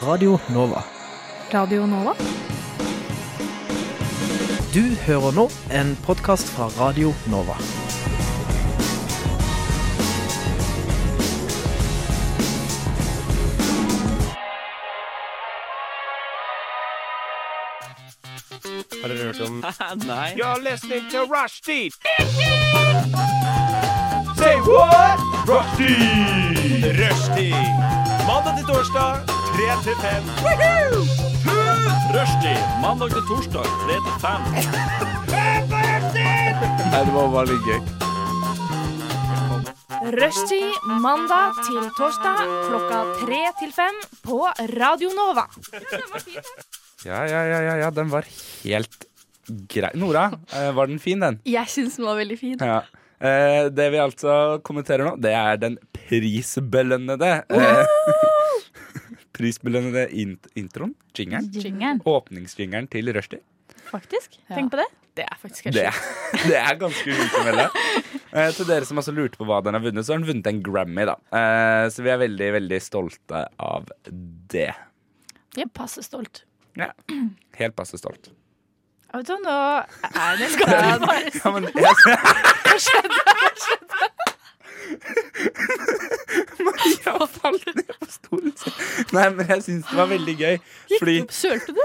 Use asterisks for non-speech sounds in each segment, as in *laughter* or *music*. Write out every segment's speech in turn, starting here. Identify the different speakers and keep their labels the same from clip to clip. Speaker 1: Radio Nova.
Speaker 2: Radio Nova.
Speaker 1: Du hører nå en podkast fra Radio Nova.
Speaker 3: Har dere hørt om
Speaker 4: Nei.
Speaker 5: You're listening to Rushdie. Say what? Rushdie. Rushdie. Mandag til torsdag, 3 til 5.
Speaker 4: Rushdie mandag til torsdag 3 til 5.
Speaker 2: Rushtid mandag til torsdag klokka tre til fem på Radio Nova.
Speaker 3: Ja, ja, ja, ja, ja den var helt grei. Nora, eh, var den fin, den?
Speaker 6: Jeg syns den var veldig fin.
Speaker 3: Ja. Eh, det vi altså kommenterer nå, det er den prisbelønnede eh, *laughs* Prisbelønnede int introen? Jingeren?
Speaker 6: Jingeren,
Speaker 3: Åpningsjingeren til Rushdie.
Speaker 6: faktisk. Tenk på det. Det er faktisk
Speaker 3: Det, er- det er ganske ukemelde. Eh, til dere som altså lurte på hva den har vunnet, så har den vunnet en Grammy, da. Eh, så vi er veldig, veldig stolte av det.
Speaker 6: Vi er passe stolt.
Speaker 3: Ja. Helt passe stolt.
Speaker 2: Vet du, nå
Speaker 3: *laughs*
Speaker 2: er det litt av-
Speaker 3: Ja, men jeg
Speaker 6: Hva falt ned?
Speaker 3: stolen sin. Nei, men jeg syns det var veldig gøy. Fordi,
Speaker 6: Sølte du?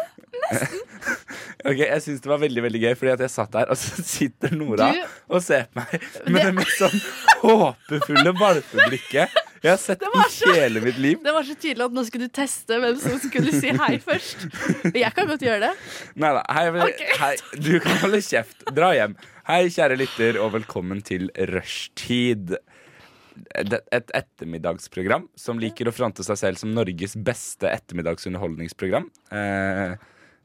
Speaker 3: ok, jeg synes det var veldig, veldig gøy Fordi at jeg satt der, og så *laughs* sitter Nora
Speaker 6: Du-
Speaker 3: og ser på meg med det mest sånn håpefulle valpeblikket jeg har sett i hele mitt liv.
Speaker 6: Det var så tydelig at nå skulle du teste hvem som skulle si hei først. Jeg kan godt gjøre det.
Speaker 3: Nei da. Hei, vel- hei, du kan holde kjeft. Dra hjem. Hei, kjære lytter, og velkommen til Rushtid. Det- Et ettermiddagsprogram som liker å fronte seg selv som Norges beste ettermiddagsunderholdningsprogram. Eh,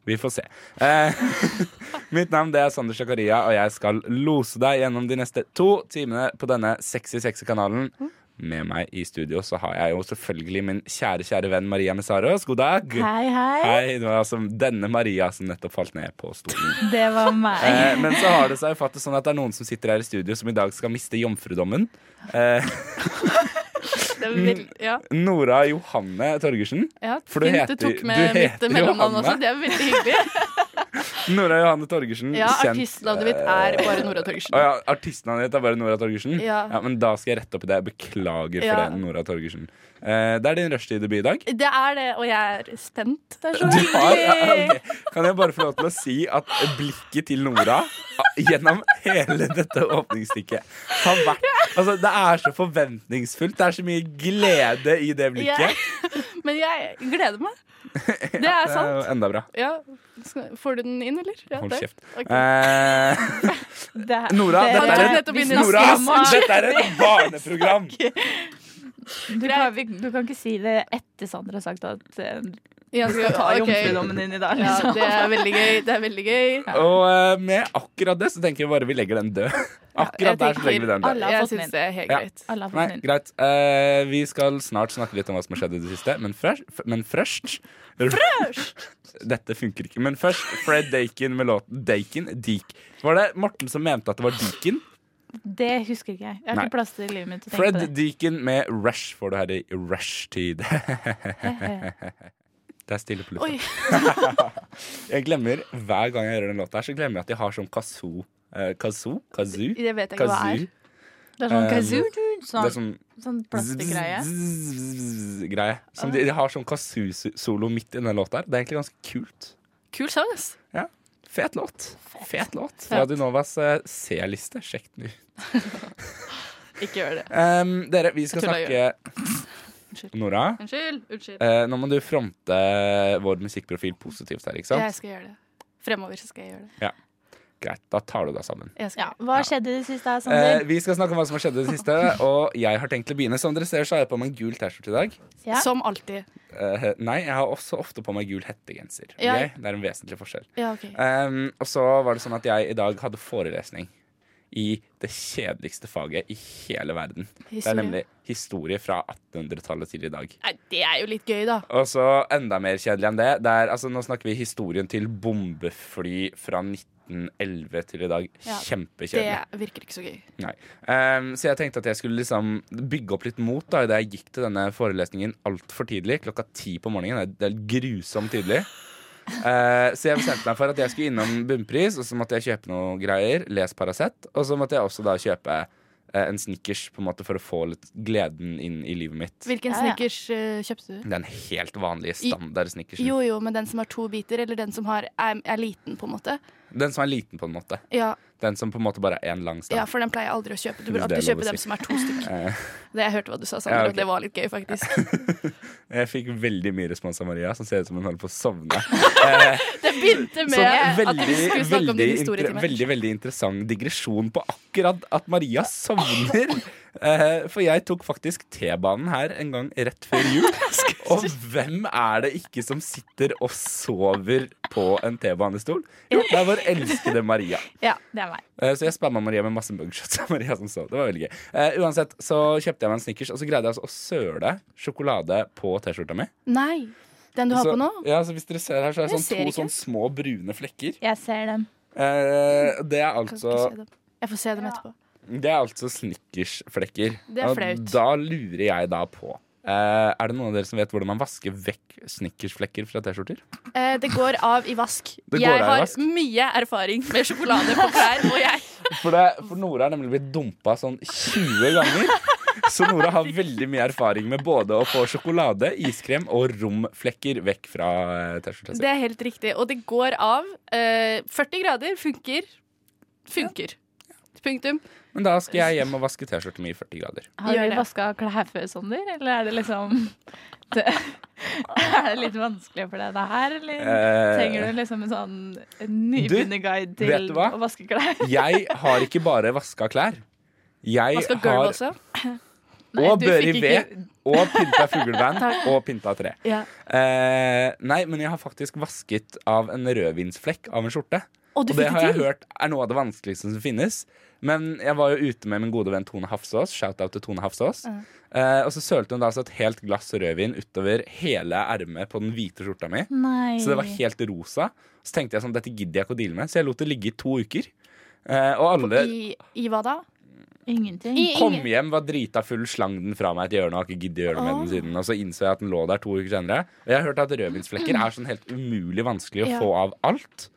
Speaker 3: vi får se. Eh, *laughs* mitt navn det er Sander Shakaria, og jeg skal lose deg gjennom de neste to timene på denne sexy, sexy kanalen. Med meg i studio så har jeg jo selvfølgelig min kjære, kjære venn Maria Messaros. God dag.
Speaker 7: Hei, hei.
Speaker 3: Hei, det var altså denne Maria som nettopp falt ned på stolen.
Speaker 7: Det var meg.
Speaker 3: Eh, men så har det seg jo faktisk sånn at det er noen som sitter her i studio som i dag skal miste jomfrudommen. Eh,
Speaker 6: det er vel, ja.
Speaker 3: Nora Johanne Torgersen.
Speaker 6: ja.
Speaker 3: Mm. For du
Speaker 6: Fint
Speaker 3: heter-
Speaker 6: du tok
Speaker 3: du
Speaker 6: med mitt
Speaker 3: heter
Speaker 6: mellomnavn
Speaker 3: Johanne.
Speaker 6: også. Det er veldig hyggelig.
Speaker 3: Nora Johanne Torgersen.
Speaker 6: Ja,
Speaker 3: kjent- eh,
Speaker 6: Artistnavnet mitt er bare Nora Torgersen.
Speaker 3: Å ja, artistnavnet ditt er bare Nora Torgersen?
Speaker 6: Ja.
Speaker 3: Men da skal jeg rette opp i det. Jeg Beklager for
Speaker 6: Ja.
Speaker 3: det, Nora Torgersen. Eh, det er din rushtid-debut i dag.
Speaker 6: Det er det, og jeg er spent. Det er så
Speaker 3: *laughs* Du har, *laughs*
Speaker 6: hyggelig.
Speaker 3: ok. Kan jeg bare få lov til å si at blikket til Nora gjennom hele dette åpningsstykket har vært Altså, det er så forventningsfullt. Det er så mye glede i det
Speaker 6: Jeg,
Speaker 3: blikket.
Speaker 6: men jeg
Speaker 3: *laughs*
Speaker 6: gleder meg. Det er
Speaker 3: Det er
Speaker 6: sant.
Speaker 3: jo enda bra.
Speaker 6: Ja. Skal- Får du den inn, eller? Ja,
Speaker 3: Hold
Speaker 6: der.
Speaker 3: kjeft.
Speaker 6: Ok.
Speaker 3: Eh, *laughs*
Speaker 7: Det,
Speaker 3: Nora,
Speaker 7: det-
Speaker 3: dette er,
Speaker 6: nettopp inn
Speaker 3: et,
Speaker 6: i
Speaker 3: Nora,
Speaker 6: naziismen.
Speaker 3: dette er
Speaker 6: *laughs*
Speaker 3: et barneprogram!
Speaker 7: du, kan, vi, du kan ikke si det etter Sander har sagt at eh,
Speaker 6: Jeg
Speaker 7: skal ta
Speaker 6: ok.
Speaker 7: jomfrudommen din i dag.
Speaker 6: Ja,
Speaker 7: Liksom.
Speaker 6: det er veldig gøy. Det er veldig gøy.
Speaker 3: Og eh, med akkurat det så tenker jeg bare vi legger den død.
Speaker 6: Jeg
Speaker 3: Akkurat der så legger vi den
Speaker 6: tenker,
Speaker 3: død.
Speaker 7: Alle har
Speaker 6: Jeg
Speaker 7: fått den
Speaker 6: syns det er helt
Speaker 3: Ja.
Speaker 6: greit.
Speaker 7: Alle har fått
Speaker 3: Nei,
Speaker 7: den.
Speaker 3: greit. Eh, vi skal snart snakke litt om hva som har skjedd i det siste, men først Men først *laughs* Dette funker ikke. Men først Fred Dakin med låten Dakin Deek. Var det Morten som mente at det var Deakin?
Speaker 7: Det husker ikke jeg. Jeg har
Speaker 3: Nei.
Speaker 7: ikke plass til livet mitt til å tenke
Speaker 3: Fred
Speaker 7: på det.
Speaker 3: Deakin med Rush får du her i
Speaker 6: *laughs*
Speaker 3: Rush-tid. Det er stille på lufta.
Speaker 6: Oi.
Speaker 3: *laughs* Jeg glemmer hver gang jeg hører den låta her, så glemmer jeg at jeg har sånn kazoo. Eh, kazoo? Kazoo?
Speaker 6: Det vet jeg ikke hva er.
Speaker 3: Kazoo?
Speaker 7: Det er sånn
Speaker 3: Eh,
Speaker 7: kazoo,
Speaker 3: Det
Speaker 7: sånn,
Speaker 3: er sånn
Speaker 7: sånn plastikkgreie.
Speaker 3: Greie. Som de, de har sånn kazoo-solo midt i den låta her. Det er egentlig ganske kult.
Speaker 6: Kul sang, ass.
Speaker 3: Fet låt. Fet låt. Radio Novas eh, C-liste. Sjekk den ut.
Speaker 6: Ikke gjør det.
Speaker 3: Em, dere, vi skal
Speaker 6: Tulla
Speaker 3: snakke Nora,
Speaker 6: Unnskyld. Unnskyld.
Speaker 3: eh, nå må du fronte vår musikkprofil positivt her, ikke
Speaker 6: Jeg
Speaker 3: sant?
Speaker 6: skal gjøre det. Fremover så skal jeg gjøre det.
Speaker 3: Greit, da tar du deg sammen.
Speaker 6: Jeg skal
Speaker 7: Ja,
Speaker 6: gjøre det.
Speaker 7: hva skjedde i det siste,
Speaker 3: Eh,
Speaker 7: Sander?
Speaker 3: vi skal snakke om hva som har skjedd i det siste, og jeg har tenkt å begynne. Som dere ser, så har jeg på meg en gul T-skjorte i dag.
Speaker 7: Ja.
Speaker 6: Som alltid.
Speaker 3: Eh, nei, jeg har også ofte på meg gul hettegenser.
Speaker 6: Ja.
Speaker 3: ok? Det er en vesentlig forskjell.
Speaker 6: Ja, OK.
Speaker 3: Ehm, og så var det sånn at jeg i dag hadde forelesning i det kjedeligste faget i hele verden. Det er nemlig historie fra 1800-tallet til i dag.
Speaker 6: Nei, det er jo litt gøy, da.
Speaker 3: Og så enda mer kjedelig enn det. det er, altså, nå snakker vi historien til bombefly fra 19 13-11 til i dag.
Speaker 7: Ja,
Speaker 3: Kjempekjedelig.
Speaker 6: Det virker ikke så gøy.
Speaker 3: Ehm, så jeg tenkte at jeg skulle liksom bygge opp litt mot da da jeg gikk til denne forelesningen altfor tidlig. Klokka ti på morgenen. Det er det er grusomt tidlig. Eh, så jeg bestemte meg for at jeg skulle innom Bunnpris, og så måtte jeg kjøpe noe greier. Les Paracet. Og så måtte jeg også da kjøpe eh, en Snickers på en måte for å få litt gleden inn i livet mitt.
Speaker 6: Hvilken
Speaker 7: Ja, ja.
Speaker 6: snickers eh, kjøpte du?
Speaker 3: Den helt vanlige standard Snickersen.
Speaker 6: Jo jo, men den som har to biter, eller den som har, er, er liten, på en måte.
Speaker 3: Den som er liten, på en måte.
Speaker 6: Ja,
Speaker 3: Den som på en måte bare er én lang
Speaker 6: ja,
Speaker 3: stang.
Speaker 6: for den pleier jeg aldri å kjøpe. Du bør
Speaker 3: Det er lov
Speaker 6: alltid
Speaker 3: å
Speaker 6: kjøpe
Speaker 3: si.
Speaker 6: dem som er to stykker.
Speaker 3: *laughs* Eh,
Speaker 6: Det jeg hørte hva du sa, Sander,
Speaker 3: Ja, ok.
Speaker 6: og det var litt gøy, faktisk.
Speaker 3: jeg fikk veldig mye respons av Maria, som ser ut som hun holder på å sovne.
Speaker 6: Det begynte med
Speaker 3: Så
Speaker 6: at vi skulle snakke om
Speaker 3: Sånn veldig,
Speaker 6: din historietime.
Speaker 3: inter- veldig, veldig interessant digresjon på akkurat at Maria sovner. Eh, for jeg tok faktisk T-banen her en gang rett før
Speaker 6: *laughs*
Speaker 3: jul. Og hvem er det ikke som sitter og sover på en T-banestol? Jo, det er vår elskede Maria.
Speaker 7: Ja, det er meg.
Speaker 3: Eh, Så jeg spamma Maria med masse *laughs* mugshots av Maria som sov. Det var veldig gøy. Eh, uansett så kjøpte jeg meg en Snickers, og så greide jeg altså å søle sjokolade på T-skjorta mi.
Speaker 6: Nei, den du har
Speaker 3: Så,
Speaker 6: på nå?
Speaker 3: ja, så hvis dere ser her, så er det
Speaker 6: Jeg
Speaker 3: sånn to
Speaker 6: ser ikke.
Speaker 3: sånn små brune flekker.
Speaker 7: Jeg ser dem.
Speaker 3: Eh, det er
Speaker 6: Kan
Speaker 3: altså
Speaker 6: ikke se dem. Jeg får se dem etterpå.
Speaker 3: Det er altså snickersflekker.
Speaker 6: Det er
Speaker 3: Og
Speaker 6: flaut.
Speaker 3: Da lurer jeg da på eh, Er det noen av dere som vet hvordan man vasker vekk snickersflekker fra T-skjorter?
Speaker 6: Eh, det går av i vask.
Speaker 3: *laughs* Det går av
Speaker 6: jeg
Speaker 3: i
Speaker 6: har
Speaker 3: vask.
Speaker 6: mye erfaring med sjokolade på klær, og
Speaker 3: *laughs*
Speaker 6: jeg
Speaker 3: For, det- for Nora er nemlig blitt dumpa sånn 20 ganger. Så Nora har veldig mye erfaring med både å få sjokolade, iskrem og romflekker vekk fra eh, T-skjorta si.
Speaker 6: Det er helt riktig. Og det går av. Eh, 40 grader funker. Funker. Punktum.
Speaker 3: Men da skal jeg hjem og vaske T-skjorta mi i 40 grader.
Speaker 7: Har
Speaker 6: Gjør
Speaker 7: du
Speaker 6: det.
Speaker 7: vaska klær før, Sander? Eller er det liksom *laughs* det, Er det litt vanskelig for deg, det her? Eller
Speaker 3: Eh,
Speaker 7: trenger du liksom en sånn nybegynnerguide
Speaker 3: vet
Speaker 7: til
Speaker 3: du hva?
Speaker 7: å vaske klær?
Speaker 3: Eh, Jeg har ikke bare vaska klær. Jeg
Speaker 6: Man skal gulve
Speaker 3: har
Speaker 6: også.
Speaker 7: Nei,
Speaker 3: Og
Speaker 7: du
Speaker 3: bør i
Speaker 7: fikk ikke-
Speaker 3: ved. Og pynta
Speaker 6: *laughs*
Speaker 3: fugleband. og pynta tre.
Speaker 6: Ja.
Speaker 3: Eh, nei, men jeg har faktisk vasket av en rødvinsflekk av en skjorte.
Speaker 6: Og du
Speaker 3: Og
Speaker 6: fikk
Speaker 3: det har
Speaker 6: det
Speaker 3: jeg
Speaker 6: til.
Speaker 3: hørt er noe av det vanskeligste som finnes. Men jeg var jo ute med min gode venn Tone Hafsås. Shout-out til Tone Hafsås. Eh, og så sølte hun da altså et helt glass rødvin utover hele ermet på den hvite skjorta mi.
Speaker 7: Nei.
Speaker 3: Så det var helt rosa. Så tenkte jeg sånn, dette gidder jeg ikke å deale med. Så jeg lot det ligge i to uker. Eh, og alle
Speaker 6: I, I hva da?
Speaker 7: Ingenting.
Speaker 6: I,
Speaker 3: Kom
Speaker 6: ingen-
Speaker 3: hjem, var drita full, slang den fra meg et hjørne og har ikke giddet å gjøre noe med den siden. Og så innså jeg at den lå der to uker senere. Og jeg har hørt at rødvinsflekker er sånn helt umulig vanskelig å
Speaker 6: Ja.
Speaker 3: få av alt.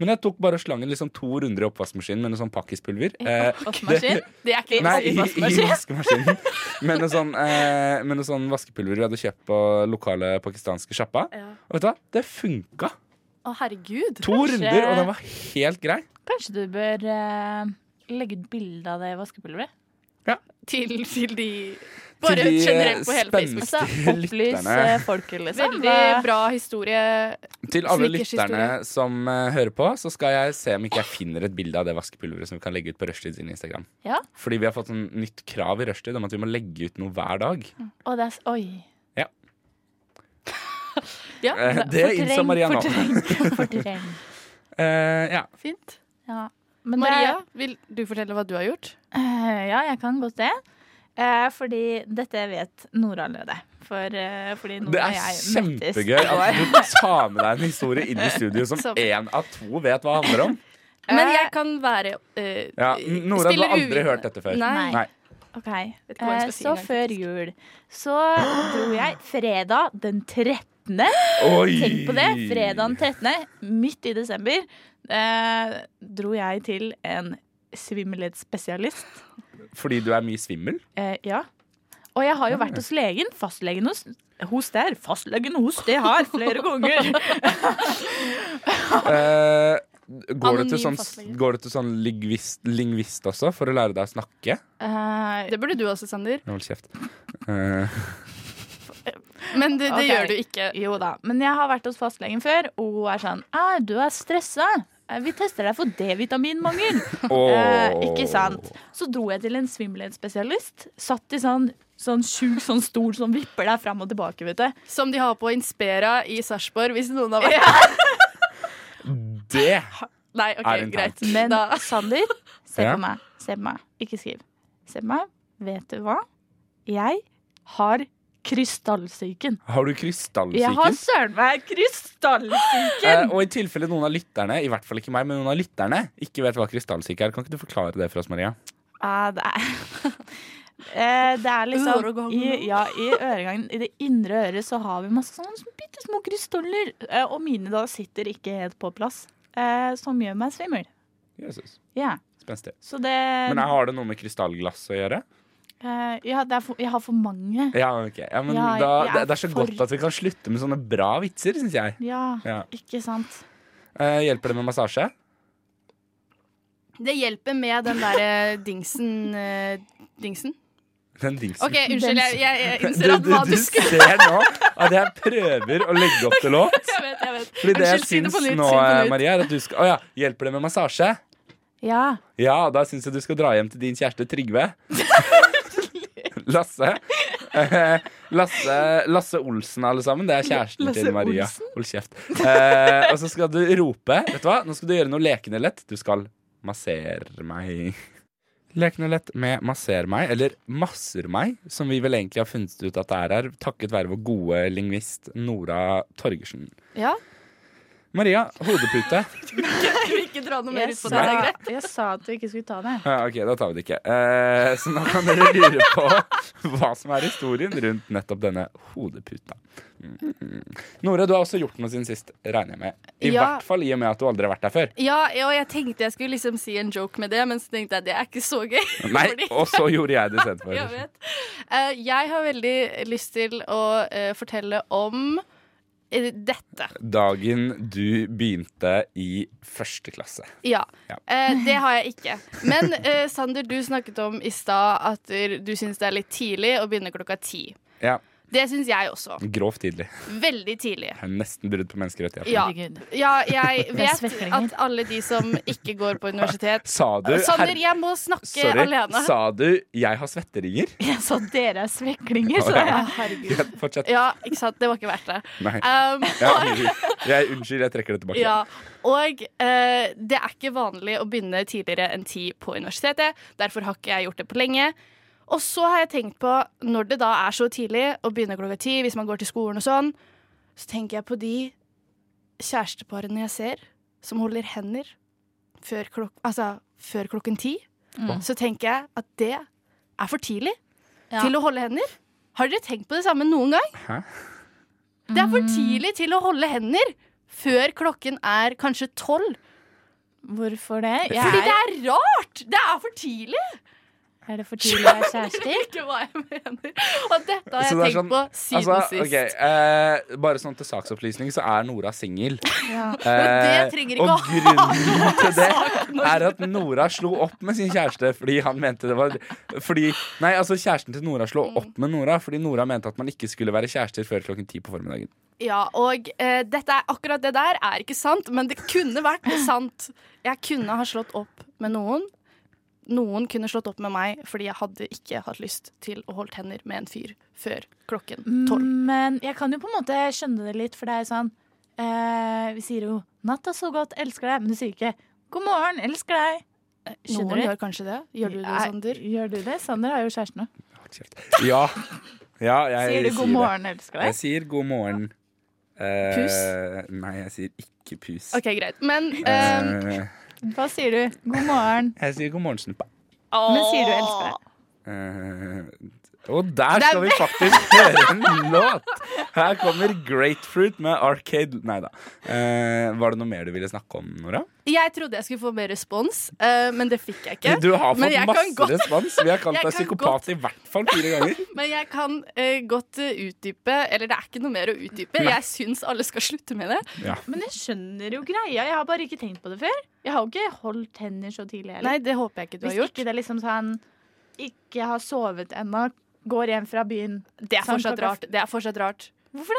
Speaker 3: Men jeg tok bare og slang den liksom to runder i oppvaskmaskinen med noe sånn pakkispulver. Eh,
Speaker 6: Oppvaskmaskin? Det er ikke
Speaker 3: nei, i, i
Speaker 6: oppvaskmaskin.
Speaker 3: vaskemaskinen. Med noe sånn, eh, med noe sånn vaskepulver vi hadde kjøpt på lokale pakistanske sjappa.
Speaker 6: Ja.
Speaker 3: Og vet du hva? Det funka!
Speaker 6: Å, herregud.
Speaker 3: To
Speaker 7: Kanskje-
Speaker 3: runder, og den var helt grei.
Speaker 7: Kanskje du bør eh, legge ut bilde av det vaskepulveret?
Speaker 6: Til, til de Bare
Speaker 3: de, eh,
Speaker 6: generelt på hele Facebook.
Speaker 3: spenstige
Speaker 7: opplys
Speaker 3: lytterne.
Speaker 7: eh, *laughs* folket, liksom.
Speaker 6: Veldig
Speaker 7: Hva-
Speaker 6: bra historie.
Speaker 3: Til alle
Speaker 6: Snickers-historie.
Speaker 3: lytterne som eh, hører på, så skal jeg se om ikke jeg finner et bilde av det vaskepulveret som vi kan legge ut på Rushtid sin Instagram.
Speaker 7: Ja.
Speaker 3: Fordi vi har fått en nytt krav i Rushtid om at vi må legge ut noe hver dag.
Speaker 7: Å, det er s- Oi.
Speaker 6: Ja,
Speaker 3: Eh, det innså Maria nå. *laughs*
Speaker 7: Fortreng. fortreng.
Speaker 3: Eh, ja.
Speaker 6: fint.
Speaker 7: Ja. Men det er-
Speaker 6: Maria, vil du fortelle hva du har gjort?
Speaker 7: Eh, *laughs* ja, jeg kan godt det. Eh, fordi dette vet Nora Løde. For, eh, fordi Nora
Speaker 3: Det
Speaker 7: og
Speaker 3: er
Speaker 7: jeg møttes.
Speaker 3: kjempegøy
Speaker 7: *laughs*
Speaker 3: at du tar med deg en historie inn i studio som
Speaker 6: Som-
Speaker 3: én av to vet hva handler om.
Speaker 6: Men jeg kan være eh,
Speaker 3: Ja, Nora, du
Speaker 6: stiller
Speaker 3: har aldri
Speaker 6: uvitende.
Speaker 3: hørt dette før.
Speaker 6: Nei.
Speaker 7: Nei.
Speaker 3: Nei.
Speaker 7: Ok,
Speaker 6: Vet ikke hva jeg skal
Speaker 7: eh,
Speaker 6: si
Speaker 7: Så
Speaker 6: engang,
Speaker 7: før jul så dro jeg fredag den 13.
Speaker 3: Oi!
Speaker 7: Tenk på det! Fredag den 13., midt i desember, eh, dro jeg til en svimmelhetsspesialist.
Speaker 3: Fordi du er mye svimmel?
Speaker 7: Eh, ja. Og jeg har jo vært hos legen, fastlegen hos, hos der, fastlegen hos det her, flere
Speaker 6: *laughs*
Speaker 7: ganger.
Speaker 3: Eh, går, du til
Speaker 6: Anonym
Speaker 3: sånn,
Speaker 6: fastlege.
Speaker 3: går du til sånn lingvist, lingvist også for å lære deg å snakke?
Speaker 7: Eh,
Speaker 6: Det burde du også, Sander.
Speaker 3: Hold *laughs* kjeft. Eh,
Speaker 6: Men det, det
Speaker 7: Ok.
Speaker 6: gjør du ikke.
Speaker 7: Jo da, men jeg har vært hos fastlegen før, og hun er sånn «Ah, Du er stressa. Eh, Vi tester deg for D-vitaminmangel. Eh, ikke sant? Så dro jeg til en svimmelhetsspesialist. Satt i sånn, sånn sjuk sånn stol som vipper deg fram og tilbake, vet du.
Speaker 6: Som de har på Inspera i Sarpsborg, hvis noen har vært
Speaker 3: Det
Speaker 6: *laughs* Nei, OK,
Speaker 3: Er det en
Speaker 6: greit.
Speaker 7: Men
Speaker 6: da,
Speaker 7: Sander, se
Speaker 3: Ja.
Speaker 7: på meg. Se på meg. Ikke skriv. Se på meg. Vet du hva? Jeg har Krystallsyken.
Speaker 3: Har du krystallsyken?
Speaker 7: Jeg har søren meg krystallsyken!
Speaker 3: Eh, og i tilfelle noen av lytterne, i hvert fall ikke meg, men noen av lytterne ikke vet hva krystallsyke er, kan ikke du forklare det for oss, Maria?
Speaker 7: Ja, det er *laughs* Eh, Det er liksom i, ja, I øregangen, i det indre øret, så har vi masse sånne bitte små krystaller. Eh, Og mine da sitter ikke helt på plass, eh, som gjør meg svimmel.
Speaker 3: Jesus.
Speaker 7: Ja,
Speaker 3: Spenstig.
Speaker 7: så det
Speaker 6: Um,
Speaker 3: Men jeg har det noe med krystallglass å gjøre?
Speaker 7: eh, ja, det er for, Jeg har for mange.
Speaker 3: Ja, ok. Ja, men
Speaker 7: Ja,
Speaker 3: da,
Speaker 7: jeg
Speaker 3: det,
Speaker 7: er
Speaker 3: det er så
Speaker 7: for-
Speaker 3: godt at vi kan slutte med sånne bra vitser, syns jeg.
Speaker 7: Ja,
Speaker 3: Ja.
Speaker 7: ikke sant?
Speaker 3: Eh, hjelper det med massasje?
Speaker 6: Det hjelper med den derre dingsen eh, Dingsen?
Speaker 3: Den dingsen.
Speaker 6: OK, unnskyld. Jeg, jeg,
Speaker 3: *laughs*
Speaker 6: jeg innser
Speaker 3: Du,
Speaker 6: at
Speaker 3: du,
Speaker 6: hva
Speaker 3: du
Speaker 6: du skulle
Speaker 3: ser nå at jeg prøver å legge opp
Speaker 6: *laughs*
Speaker 3: til låt.
Speaker 6: Jeg vet, jeg vet.
Speaker 3: Fordi det jeg
Speaker 6: Unnskyld, si
Speaker 3: syns
Speaker 6: det på nytt.
Speaker 3: nå, eh,
Speaker 6: si det på nytt.
Speaker 3: Maria, er at du skal Å ja, hjelper det med massasje?
Speaker 7: Ja.
Speaker 3: Ja, da syns jeg du skal dra hjem til din kjæreste Trygve. Lasse. *laughs* Eh, Lasse, Lasse Olsen, alle sammen. Det er kjæresten til Maria. Hold kjeft. Eh, og så skal du rope. Vet du hva? Nå skal du gjøre noe lekende lett. Du skal massere meg. Lekende lett med masser meg, eller masser meg, som vi vel egentlig har funnet ut at det er her, takket være vår gode lingvist Nora Torgersen.
Speaker 6: Ja.
Speaker 3: Maria, hodepute.
Speaker 6: Jeg vil ikke dra noe mer
Speaker 7: Jeg
Speaker 6: ut på det.
Speaker 7: sa,
Speaker 6: det er greit.
Speaker 7: jeg sa at vi ikke skulle ta det.
Speaker 3: Ja, ok, da tar vi det ikke. Eh, så nå kan dere lure på hva som er historien rundt nettopp denne hodeputa. Mm. Nora, du har også gjort noe siden sist, regner jeg med. I
Speaker 6: Ja.
Speaker 3: hvert fall i og med at du aldri har vært der før.
Speaker 6: Ja, ja, og jeg tenkte jeg skulle liksom si en joke med det, men så tenkte jeg det er ikke så gøy.
Speaker 3: Nei,
Speaker 6: *laughs* Fordi-
Speaker 3: og så gjorde jeg det istedenfor.
Speaker 6: *laughs* Jeg vet. Eh, jeg har veldig lyst til å eh, fortelle om eh, dette.
Speaker 3: Dagen du begynte i første klasse.
Speaker 6: Ja.
Speaker 3: Ja.
Speaker 6: Eh, det har jeg ikke. Men eh, Sander, du snakket om i stad at du syns det er litt tidlig å begynne klokka ti.
Speaker 3: Ja,
Speaker 6: Det syns jeg også.
Speaker 3: Grovt tidlig.
Speaker 6: Veldig tidlig.
Speaker 3: Jeg er Nesten brudd på menneskerettighetene.
Speaker 6: Ja.
Speaker 7: Herregud.
Speaker 6: ja, jeg
Speaker 7: Det er
Speaker 6: vet
Speaker 7: svekringer.
Speaker 6: at alle de som ikke går på universitet
Speaker 3: Sa du
Speaker 6: Sander,
Speaker 3: her-
Speaker 6: jeg må snakke
Speaker 3: Sorry,
Speaker 6: alene.
Speaker 3: sa du 'jeg har svetteringer'?
Speaker 6: *laughs*
Speaker 7: Jeg sa dere er sveklinger, så
Speaker 3: Å, ja.
Speaker 7: ja, herregud.
Speaker 3: Fortsett.
Speaker 6: Ja, ikke sant? Det var ikke verdt det.
Speaker 3: Nei.
Speaker 6: Um,
Speaker 3: Ja,
Speaker 6: *laughs*
Speaker 3: jeg, unnskyld, jeg trekker det tilbake.
Speaker 6: Ja, og eh, det er ikke vanlig å begynne tidligere enn ti på universitetet. Derfor har ikke jeg gjort det på lenge. Og så har jeg tenkt på, når det da er så tidlig å begynne klokka ti, hvis man går til skolen og sånn, så tenker jeg på de kjæresteparene jeg ser, som holder hender før, klok altså, før klokken ti.
Speaker 7: Mm.
Speaker 6: Så tenker jeg at det er for tidlig
Speaker 7: Ja.
Speaker 6: til å holde hender. Har dere tenkt på det samme noen gang?
Speaker 3: Hæ?
Speaker 6: Det er for tidlig til å holde hender før klokken er kanskje tolv.
Speaker 7: Hvorfor det? Jeg
Speaker 6: Fordi det
Speaker 7: er,
Speaker 6: er rart! Det er for tidlig!
Speaker 7: er det for tidlig å være kjærester?
Speaker 6: Ikke hva jeg mener. Og dette har jeg
Speaker 3: Så det er
Speaker 6: tenkt
Speaker 3: sånn-
Speaker 6: på siden
Speaker 3: altså,
Speaker 6: sist.
Speaker 3: ok, eh, bare sånn til saksopplysning, så er Nora singel.
Speaker 7: Ja.
Speaker 3: Eh,
Speaker 6: det trenger ikke å
Speaker 3: og grunnen
Speaker 6: *laughs*
Speaker 3: til det
Speaker 6: Nå-
Speaker 3: er at Nora slo opp med sin kjæreste fordi han mente det var fordi, Nei, altså kjæresten til Nora
Speaker 6: Mm.
Speaker 3: slo opp med Nora fordi Nora mente at man ikke skulle være kjærester før klokken ti på formiddagen.
Speaker 6: Ja, og eh, dette er, akkurat det der er ikke sant, men det kunne vært sant. Jeg kunne ha slått opp med noen. Noen kunne slått opp med meg fordi jeg hadde ikke hatt lyst til å holde hender med en fyr før klokken tolv.
Speaker 7: Men jeg kan jo på en måte skjønne det litt, for det er jo sånn eh, Vi sier jo 'natta så godt, elsker deg', men du sier ikke 'god morgen, elsker deg'. Eh,
Speaker 6: Noen
Speaker 7: skjønner du?
Speaker 6: gjør kanskje det. Gjør Mm, du det,
Speaker 7: Nei,
Speaker 6: Sander?
Speaker 7: Gjør du det? Sander har jo kjæreste nå.
Speaker 3: Hold kjeft. Ja. ja jeg
Speaker 7: Sier du 'god
Speaker 3: det.
Speaker 7: morgen, elsker
Speaker 3: Jeg
Speaker 7: deg'?
Speaker 3: sier god morgen. Eh,
Speaker 6: Pus?
Speaker 3: Nei, jeg sier ikke pus.
Speaker 6: OK, greit. Men eh,
Speaker 3: Eh,
Speaker 7: Hva sier du? 'God morgen',
Speaker 3: jeg sier god morgen, snuppa.
Speaker 7: men sier du 'elsker deg'?
Speaker 3: Eh, og der skal vi faktisk *laughs* høre en låt! Her kommer Grapefruit med Arcade Nei da. Eh, var det noe mer du ville snakke om, Nora?
Speaker 6: Jeg trodde jeg skulle få mer respons, eh, men det fikk jeg *laughs* ikke.
Speaker 3: Du har
Speaker 6: Men
Speaker 3: fått
Speaker 6: jeg kan
Speaker 3: masse
Speaker 6: godt-
Speaker 3: respons. Vi har kalt
Speaker 6: *laughs* Jeg
Speaker 3: deg
Speaker 6: kan
Speaker 3: psykopat i hvert fall fire
Speaker 6: *laughs*
Speaker 3: ganger.
Speaker 6: Men jeg kan eh, godt eh, utdype Eller det er ikke noe mer å utdype. Jeg syns alle skal slutte med det.
Speaker 7: Men jeg skjønner jo greia, jeg har bare ikke tenkt på det før. Jeg har jo ikke holdt hender så tidlig heller.
Speaker 6: Nei, det håper jeg ikke du
Speaker 7: Hvis
Speaker 6: har gjort.
Speaker 7: ikke det er liksom sånn Ikke har sovet ennå, går hjem fra byen
Speaker 6: Det er
Speaker 7: Sånn
Speaker 6: fortsatt
Speaker 7: klokka-
Speaker 6: rart. Det er fortsatt rart.
Speaker 7: Hvorfor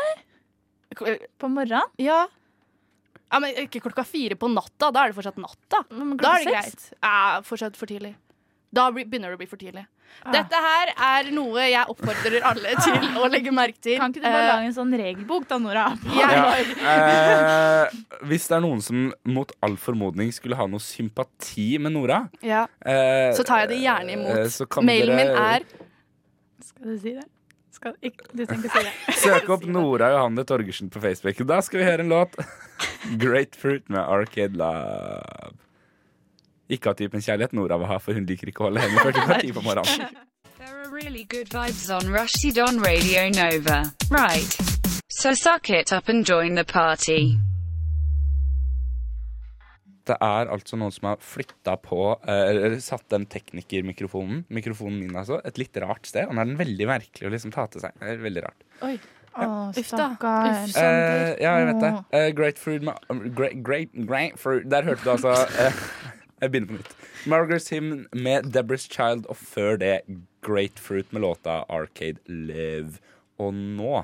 Speaker 6: det?
Speaker 7: på morgenen.
Speaker 6: Ja. ja. Men ikke klokka fire på natta. Da er det fortsatt natta.
Speaker 7: Men
Speaker 6: Da
Speaker 7: klokka
Speaker 6: er det
Speaker 7: seks?
Speaker 6: greit. Ja, fortsatt for tidlig. Da blir- begynner det å bli for tidlig. Dette her er noe jeg oppfordrer *laughs* alle til å legge merke til.
Speaker 7: Kan ikke du bare lage en sånn regelbok da, Nora?
Speaker 6: Eh, jeg-
Speaker 3: Ja. Eh, hvis det er noen som mot all formodning skulle ha noe sympati med Nora
Speaker 6: ja.
Speaker 3: eh,
Speaker 6: Så tar jeg det gjerne
Speaker 3: eh,
Speaker 6: imot.
Speaker 3: så kan
Speaker 6: Mailen
Speaker 3: dere-
Speaker 6: min er
Speaker 7: Skal du si det? skal ikke, du trenger ikke si det.
Speaker 3: Søk opp Nora Johanne Torgersen på Facebook. Da skal vi høre en låt. *laughs* Great Fruit med Arcade Love. Ikke av typen kjærlighet Nora vil ha, for hun liker ikke å holde henne 40 partier på morgenen.
Speaker 8: There are really good vibes on Rushdie on Radio Nova. Right. So suck it up and join the party.
Speaker 3: Det er altså noen som har flytta på eh, Eller satt den teknikermikrofonen, mikrofonen min altså, et litt rart sted. Og nå er den veldig merkelig å liksom ta til seg. Det er veldig rart.
Speaker 7: Å,
Speaker 6: Uff da.
Speaker 7: stakkar.
Speaker 6: Uff.
Speaker 3: Eh, ja, jeg vet det. Eh, great fruit ma great, great, great fruit Der hørte du altså eh, Jeg begynner på nytt. Margaret Hymn med Deborah's Child, og før det Great Fruit med låta Arcade Live. Og nå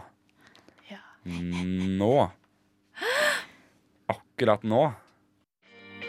Speaker 7: Ja.
Speaker 3: Nå Akkurat nå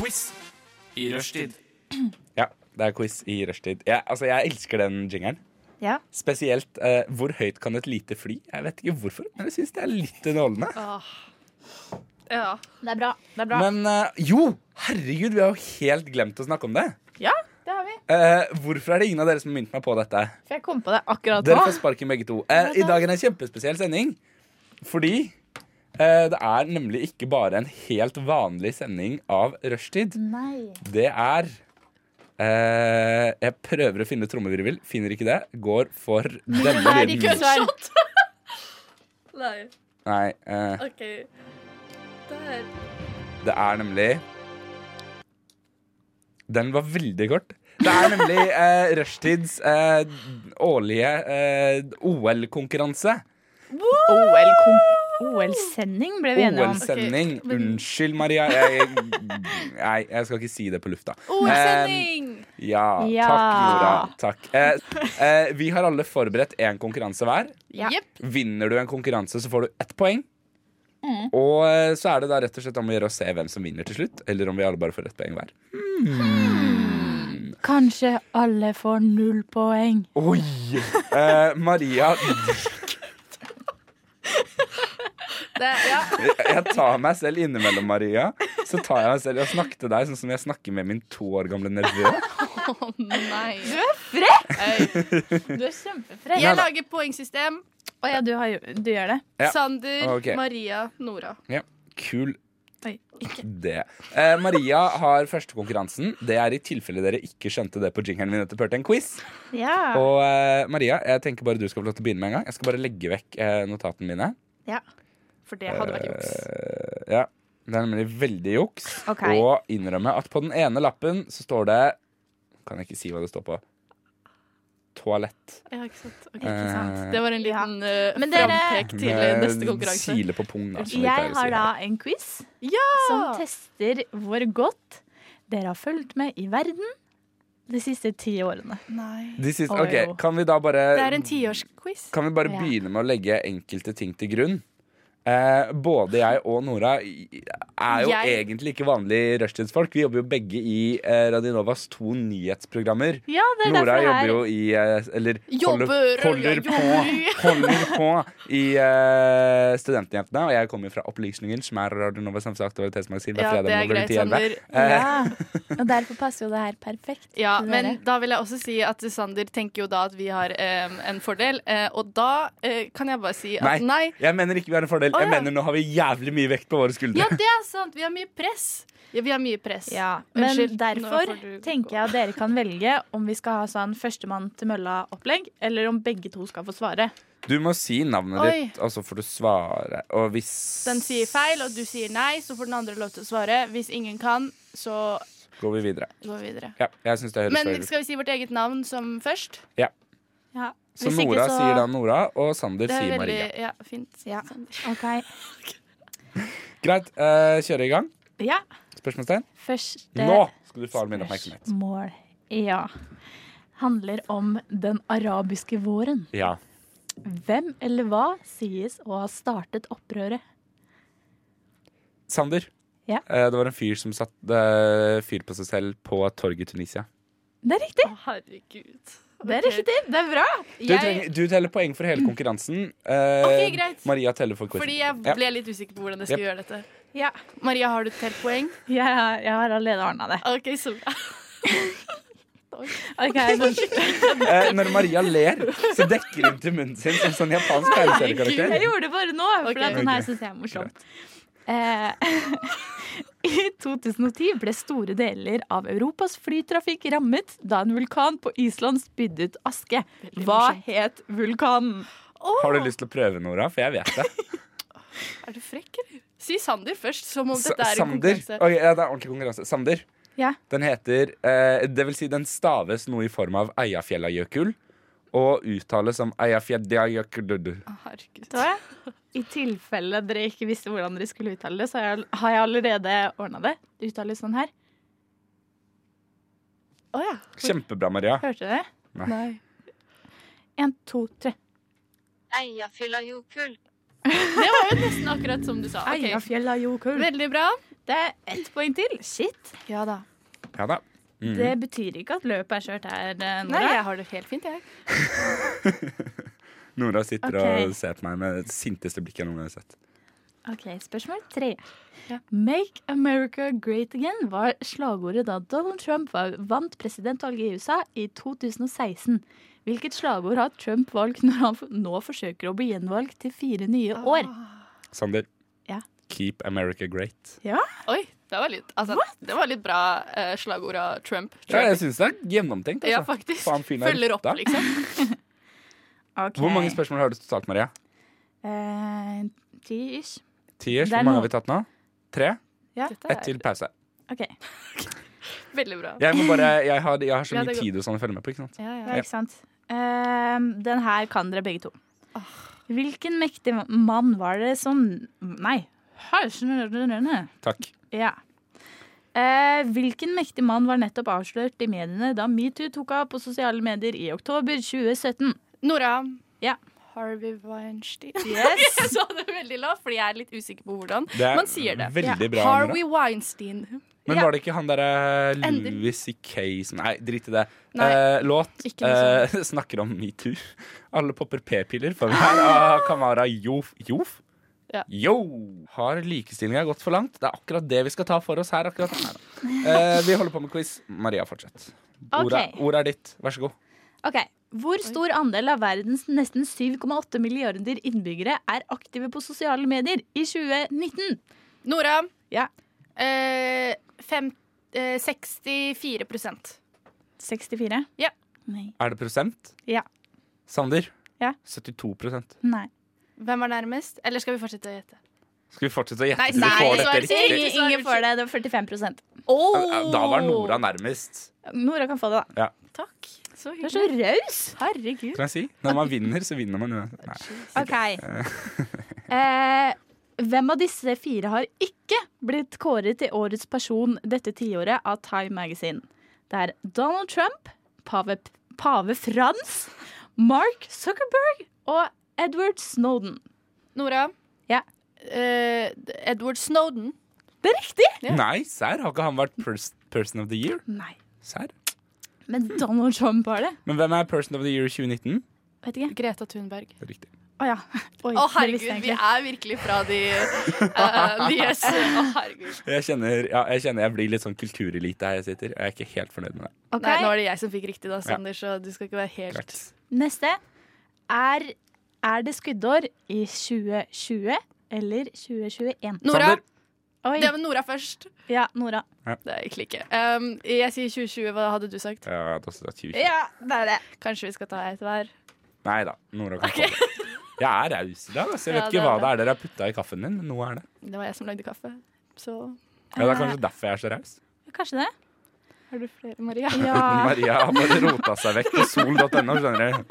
Speaker 4: Quiz i rushtid.
Speaker 3: Ja, det er quiz i rushtid. Jeg- altså, jeg elsker den jingeren.
Speaker 7: Ja.
Speaker 3: Spesielt eh, hvor høyt kan et lite fly? Jeg vet ikke hvorfor, men jeg syns det er litt underholdende.
Speaker 6: Ja.
Speaker 7: Det er bra. Det er bra.
Speaker 3: Men eh, jo, herregud, vi har jo helt glemt å snakke om det.
Speaker 7: ja, det har vi.
Speaker 3: Eh, hvorfor er det ingen av dere som har minnet meg på dette?
Speaker 7: For jeg kom på det akkurat
Speaker 3: Dere
Speaker 7: nå.
Speaker 3: får sparken begge to. Eh, I dag er det en kjempespesiell sending. Fordi eh, det er nemlig ikke bare en helt vanlig sending av rushtid.
Speaker 7: Nei.
Speaker 3: Det er eh, Jeg prøver å finne trommevirvel, finner ikke det. Går for denne lyden.
Speaker 7: gunshot.
Speaker 6: Nei,
Speaker 3: Nei, eh,
Speaker 6: OK. Der.
Speaker 3: det er nemlig Den var veldig kort. Det er nemlig eh, rushtids eh, årlige eh, OL-konkurranse.
Speaker 7: OL-sending ble vi enige om.
Speaker 3: OL-sending. Unnskyld, Maria. Jeg, nei, jeg skal ikke si det på lufta.
Speaker 6: OL-sending!
Speaker 3: Ja,
Speaker 7: Ja.
Speaker 3: Takk, Nora. Takk. Eh, eh, vi har alle forberedt én konkurranse hver.
Speaker 7: Ja.
Speaker 6: Jepp.
Speaker 3: Vinner du en konkurranse, så får du ett poeng. Og eh, så er det da rett og slett om å gjøre å se hvem som vinner til slutt. Eller om vi alle bare får ett poeng hver.
Speaker 7: Kanskje alle får null poeng.
Speaker 3: Oi! Eh, Maria,
Speaker 6: Det, ja.
Speaker 3: jeg tar meg selv innimellom, Maria. Så tar jeg meg selv i å snakke til deg sånn som jeg snakker med min to år gamle nevø.
Speaker 6: Å, nei.
Speaker 7: Du er kjempefrekk.
Speaker 3: Nei, nei.
Speaker 6: Jeg lager poengsystem.
Speaker 7: Å ja, du, har, jo- du gjør det.
Speaker 3: Ja.
Speaker 6: Sander,
Speaker 3: Ok.
Speaker 6: Maria, Nora.
Speaker 3: Kul
Speaker 7: Oi,
Speaker 3: det. Eh, Maria har første konkurransen. Det er i tilfelle dere ikke skjønte det på jingeren vi nettopp hørte. En quiz.
Speaker 7: Ja.
Speaker 3: Og eh, Maria, jeg tenker bare du skal få lov til å begynne med en gang. Jeg skal bare legge vekk eh, notatene mine.
Speaker 6: For det hadde vært juks.
Speaker 3: Eh, ja. Det er nemlig veldig juks.
Speaker 7: Ok.
Speaker 3: Og innrømme at på den ene lappen så står det Kan jeg ikke si hva det står på. Toalett.
Speaker 6: Ja, ikke sant. Ok,
Speaker 3: Eh,
Speaker 6: ikke sant. Det var en liten uh,
Speaker 7: Men dere-
Speaker 6: frampek til
Speaker 3: Med
Speaker 6: neste konkurranse.
Speaker 3: Sile på pung, da. som vi pleier å
Speaker 7: Jeg har
Speaker 3: si.
Speaker 7: da en quiz som tester hvor godt dere har fulgt med i verden de siste ti årene.
Speaker 6: Nei.
Speaker 3: De siste,
Speaker 7: Oi,
Speaker 3: ok,
Speaker 7: jo.
Speaker 3: Kan vi da bare
Speaker 6: Det er en tiårsquiz.
Speaker 3: Kan vi bare
Speaker 7: Ja.
Speaker 3: begynne med å legge enkelte ting til grunn? Eh, både jeg og Nora i- er jo
Speaker 6: Jeg-
Speaker 3: egentlig ikke vanlige rushtidsfolk. Vi jobber jo begge i eh, Radionovas to nyhetsprogrammer.
Speaker 7: Ja, det er
Speaker 3: Nora
Speaker 7: derfor
Speaker 3: jobber
Speaker 7: det
Speaker 3: jo
Speaker 7: er
Speaker 3: i eh, Eller
Speaker 6: Jobber,
Speaker 3: holder, holder,
Speaker 6: jobber.
Speaker 3: på, *laughs* holder på i eh, Studentjentene. Og jeg kommer jo fra Opplysningen, som er Radionovas samfunnsaktualitetsmagasin. hver
Speaker 6: Ja,
Speaker 3: fredag
Speaker 6: det er
Speaker 3: mellom
Speaker 6: greit,
Speaker 3: 10 og 11.
Speaker 6: Sander.
Speaker 3: Eh,
Speaker 7: ja. Og derfor passer jo det her perfekt.
Speaker 6: Ja,
Speaker 7: til
Speaker 6: men
Speaker 7: dere.
Speaker 6: da vil jeg også si at Sander tenker jo da at vi har eh, en fordel, eh, og da eh, kan jeg bare si
Speaker 3: Nei.
Speaker 6: at nei.
Speaker 3: Jeg mener ikke vi har en fordel.
Speaker 6: Å,
Speaker 3: Jeg
Speaker 6: ja.
Speaker 3: mener nå har vi jævlig mye vekt på våre skuldre.
Speaker 6: Ja, det er sant. Vi har mye press. Ja, vi har mye press.
Speaker 7: ja, men
Speaker 6: Unnskyld, nå
Speaker 7: derfor
Speaker 6: får du gå.
Speaker 7: tenker jeg at dere kan velge om vi skal ha sånn førstemann til mølla-opplegg, eller om begge to skal få svare.
Speaker 3: Du må si navnet
Speaker 6: Oi.
Speaker 3: ditt, og så får du svare. Og hvis
Speaker 6: Den sier feil, og du sier nei, så får den andre lov til å svare. Hvis ingen kan, så
Speaker 3: Går vi videre.
Speaker 6: går vi videre.
Speaker 3: Ja, jeg synes det høres
Speaker 6: Men
Speaker 3: feil ut.
Speaker 6: skal vi si vårt eget navn som først?
Speaker 7: Ja,
Speaker 3: Så
Speaker 6: hvis ikke,
Speaker 3: Nora
Speaker 6: så-
Speaker 3: sier da Nora, og Sander
Speaker 6: Det er
Speaker 3: sier
Speaker 6: veldig
Speaker 3: Maria.
Speaker 6: ja, fint.
Speaker 7: Ja.
Speaker 6: Sander.
Speaker 7: ok.
Speaker 3: Greit, uh, kjøre i gang.
Speaker 7: Ja,
Speaker 3: Spørsmålstegn?
Speaker 7: første
Speaker 3: Nå skal du få all min oppmerksomhet.
Speaker 7: Spørsmål. Ja. handler om den arabiske våren.
Speaker 5: Ja.
Speaker 7: Hvem eller hva sies å ha startet opprøret?
Speaker 3: Sander.
Speaker 7: Ja.
Speaker 3: Eh, Det var en fyr som satte eh, fyr på seg selv på et torg i Tunisia.
Speaker 7: Det er riktig!
Speaker 6: Å, herregud.
Speaker 7: Det er riktig, det er bra!
Speaker 3: Du, trenger, du teller poeng for hele konkurransen. Eh,
Speaker 6: Ok, greit.
Speaker 3: Maria teller for quizen.
Speaker 6: Fordi jeg ble litt usikker på hvordan jeg skulle gjøre dette.
Speaker 7: Ja.
Speaker 6: Maria, har du et helt poeng?
Speaker 7: Jeg, jeg har allerede ordna det.
Speaker 6: OK, så bra.
Speaker 7: Ok, sånn- så-
Speaker 3: Eh, når Maria ler, så dekker hun til munnen sin som sånn japansk
Speaker 7: Jeg
Speaker 3: tegneseriekarakter.
Speaker 7: gjorde det bare nå, for
Speaker 6: Ok.
Speaker 7: at den her
Speaker 3: Ok.
Speaker 7: syns jeg er morsom. Eh, *laughs* I 2010 ble store deler av Europas flytrafikk rammet da en vulkan på Island spydde ut aske. Hva het vulkanen?
Speaker 3: Har du lyst til å prøve, Nora? For jeg vet det.
Speaker 6: Er du frekk, eller? Si Sander først, som om
Speaker 3: S
Speaker 6: dette er en
Speaker 3: Sander.
Speaker 6: konkurranse.
Speaker 3: Oi, ja, det er ordentlig konkurranse. Sander.
Speaker 7: Ja.
Speaker 3: Den heter eh, Det vil si, den staves noe i form av Eiafjellajökull. Og uttales som Eiafjellajökull.
Speaker 6: Å, Herregud.
Speaker 7: I tilfelle dere ikke visste hvordan dere skulle uttale det, så har jeg- har jeg allerede ordna det. Det uttales sånn her.
Speaker 6: Å ja.
Speaker 3: Kjempebra, Maria.
Speaker 7: Hørte du det?
Speaker 3: Nei.
Speaker 7: En, to, tre.
Speaker 9: Eyjafjallajökull.
Speaker 6: Det var jo nesten akkurat som du sa. Ok.
Speaker 7: Eyjafjallajökull.
Speaker 6: Veldig bra.
Speaker 7: Det er ett poeng til. Shit.
Speaker 6: Ja da.
Speaker 3: Ja da. Mhm.
Speaker 7: Det betyr ikke at løpet er kjørt her, eh,
Speaker 6: Nei,
Speaker 7: Nora.
Speaker 6: jeg har det helt fint, jeg.
Speaker 3: Nora sitter
Speaker 7: Ok.
Speaker 3: og ser på meg med det sinteste blikket jeg noen gang har sett.
Speaker 7: Ok, Spørsmål tre. Make America great again var slagordet da Donald Trump var- vant presidentvalget i USA i 2016. Hvilket slagord har Trump valgt når han f- nå forsøker å bli gjenvalgt til fire nye år?
Speaker 3: Sander.
Speaker 7: Ja.
Speaker 3: Keep America great.
Speaker 6: Oi, det var litt, altså, det var litt bra eh, slagord av Trump.
Speaker 3: Ja, jeg syns det er gjennomtenkt.
Speaker 6: Ja,
Speaker 3: Altså.
Speaker 6: faktisk.
Speaker 3: Faen, fyren er
Speaker 6: Følger opp,
Speaker 3: rutta.
Speaker 6: liksom.
Speaker 7: Ok.
Speaker 3: Hvor mange spørsmål har du totalt, Maria?
Speaker 7: Eh, Ti ish.
Speaker 3: Tiers.
Speaker 7: Det er
Speaker 3: Hvor mange
Speaker 7: noe-
Speaker 3: har vi tatt nå? Tre?
Speaker 7: Ja.
Speaker 6: Dette
Speaker 3: Ett
Speaker 6: er
Speaker 3: til pause.
Speaker 7: Ok.
Speaker 6: veldig bra.
Speaker 3: Jeg, må bare, jeg, har, jeg har så
Speaker 6: Ja,
Speaker 3: mye
Speaker 6: det går-
Speaker 3: tid og sånn å følge med på. ikke sant?
Speaker 6: Ja,
Speaker 7: Ja,
Speaker 6: ja.
Speaker 7: ikke sant. Ehm, den her kan dere begge to.
Speaker 6: Ah.
Speaker 7: Hvilken mektig mann var det som Nei.
Speaker 3: Takk.
Speaker 7: Ja. Eh, hvilken mektig mann var nettopp avslørt i mediene da metoo tok av på sosiale medier i oktober 2017?
Speaker 6: Nora.
Speaker 7: Ja.
Speaker 6: Harvey Weinstein.
Speaker 7: *laughs* Yes!
Speaker 6: *laughs* Jeg sa det veldig lavt, fordi jeg er litt usikker på hvordan
Speaker 3: Det er
Speaker 6: man sier det.
Speaker 3: veldig bra. Nora.
Speaker 6: Harvey Weinstein.
Speaker 3: Men var det ikke han derre eh,
Speaker 6: Endelig.
Speaker 3: Louis C.K. som Nei, drit i det.
Speaker 6: Nei,
Speaker 3: Eh, låt
Speaker 6: ikke liksom. noe
Speaker 3: eh, *laughs* snakker om metoo. Alle popper p-piller. For her av Kamara Jof. Jof?
Speaker 6: Ja.
Speaker 3: Yo! Har likestillinga gått for langt? Det er akkurat det vi skal ta for oss her. akkurat Nei da. Eh, Vi holder på med quiz. Maria, fortsett. Ordet
Speaker 7: Ok.
Speaker 3: ordet er ditt. Vær så god.
Speaker 7: Ok, Hvor stor andel av verdens nesten 7,8 milliarder innbyggere er aktive på sosiale medier i 2019?
Speaker 6: Nora.
Speaker 7: Ja.
Speaker 6: Eh, fem, eh, 64 prosent.
Speaker 7: 64?
Speaker 6: Ja.
Speaker 7: Nei.
Speaker 3: Er det prosent?
Speaker 7: Ja.
Speaker 3: Sander?
Speaker 7: Ja.
Speaker 3: 72 prosent.
Speaker 7: Nei.
Speaker 6: Hvem var nærmest? Eller skal vi fortsette å gjette?
Speaker 3: Skal vi fortsette å gjette
Speaker 6: Nei,
Speaker 3: til vi
Speaker 6: nei,
Speaker 3: får
Speaker 6: så
Speaker 3: dette
Speaker 6: er det
Speaker 3: riktig?
Speaker 6: ikke-
Speaker 7: Ingen, ingen får det. Det var 45
Speaker 3: Da var Nora nærmest.
Speaker 7: Nora kan få det, da.
Speaker 6: Takk. Så
Speaker 7: Du er så
Speaker 6: hyggelig.
Speaker 7: raus! Herregud.
Speaker 3: Kan jeg si? Når man vinner, så vinner man uansett. Nei.
Speaker 7: Ok. Eh, hvem av disse fire har ikke blitt kåret til årets person dette tiåret av Time Magazine? Det er Donald Trump, pave, pave Frans, Mark Zuckerberg og Edward Snowden.
Speaker 6: Nora.
Speaker 7: Ja.
Speaker 6: Eh, Edward Snowden.
Speaker 7: Det er riktig!
Speaker 6: Ja.
Speaker 3: Nei, serr? Har ikke han vært pers Person of the Year?
Speaker 7: Nei,
Speaker 3: Serr?
Speaker 7: men Donald Trump var det.
Speaker 3: Men hvem er Person of the Year 2019?
Speaker 7: Vet ikke.
Speaker 6: Greta Thunberg.
Speaker 3: Det er riktig.
Speaker 7: Å ja. Oi,
Speaker 6: Å,
Speaker 7: det
Speaker 6: herregud,
Speaker 7: visste jeg
Speaker 6: vi
Speaker 7: egentlig.
Speaker 6: er virkelig fra de eh,
Speaker 7: *laughs*
Speaker 6: Yes. Å, herregud.
Speaker 3: Jeg kjenner, ja, jeg kjenner jeg blir litt sånn kulturelite her jeg sitter. og Jeg er ikke helt fornøyd med det.
Speaker 7: Ok.
Speaker 6: Nei, nå er det jeg som fikk riktig, da, Sander, så du skal ikke være helt
Speaker 3: Greit.
Speaker 7: Neste er Er det skuddår i 2020 eller 2021?
Speaker 6: Nora.
Speaker 3: Sander.
Speaker 7: Oi.
Speaker 6: Det var Nora først.
Speaker 7: Ja, Nora.
Speaker 6: Det er egentlig ikke. Um, jeg sier 2020. Hva hadde du sagt?
Speaker 3: Ja, da sitter jeg 20.
Speaker 6: Eh.
Speaker 7: Ja, det er det.
Speaker 6: Kanskje vi skal ta et hver?
Speaker 3: Nei da. Nora kan få det. Jeg er raus i dag. Altså. Jeg
Speaker 6: Ja,
Speaker 3: vet
Speaker 6: det
Speaker 3: ikke hva
Speaker 6: er det.
Speaker 3: det er dere har putta i kaffen din, men noe er det.
Speaker 6: Det var jeg som lagde kaffe. Så
Speaker 3: Ja, Det er
Speaker 6: Eh.
Speaker 3: kanskje derfor jeg er så raus.
Speaker 7: Kanskje det.
Speaker 6: har du flere, Maria.
Speaker 3: *laughs*
Speaker 7: Ja.
Speaker 3: Maria har bare rota seg vekk på sol.no. skjønner du.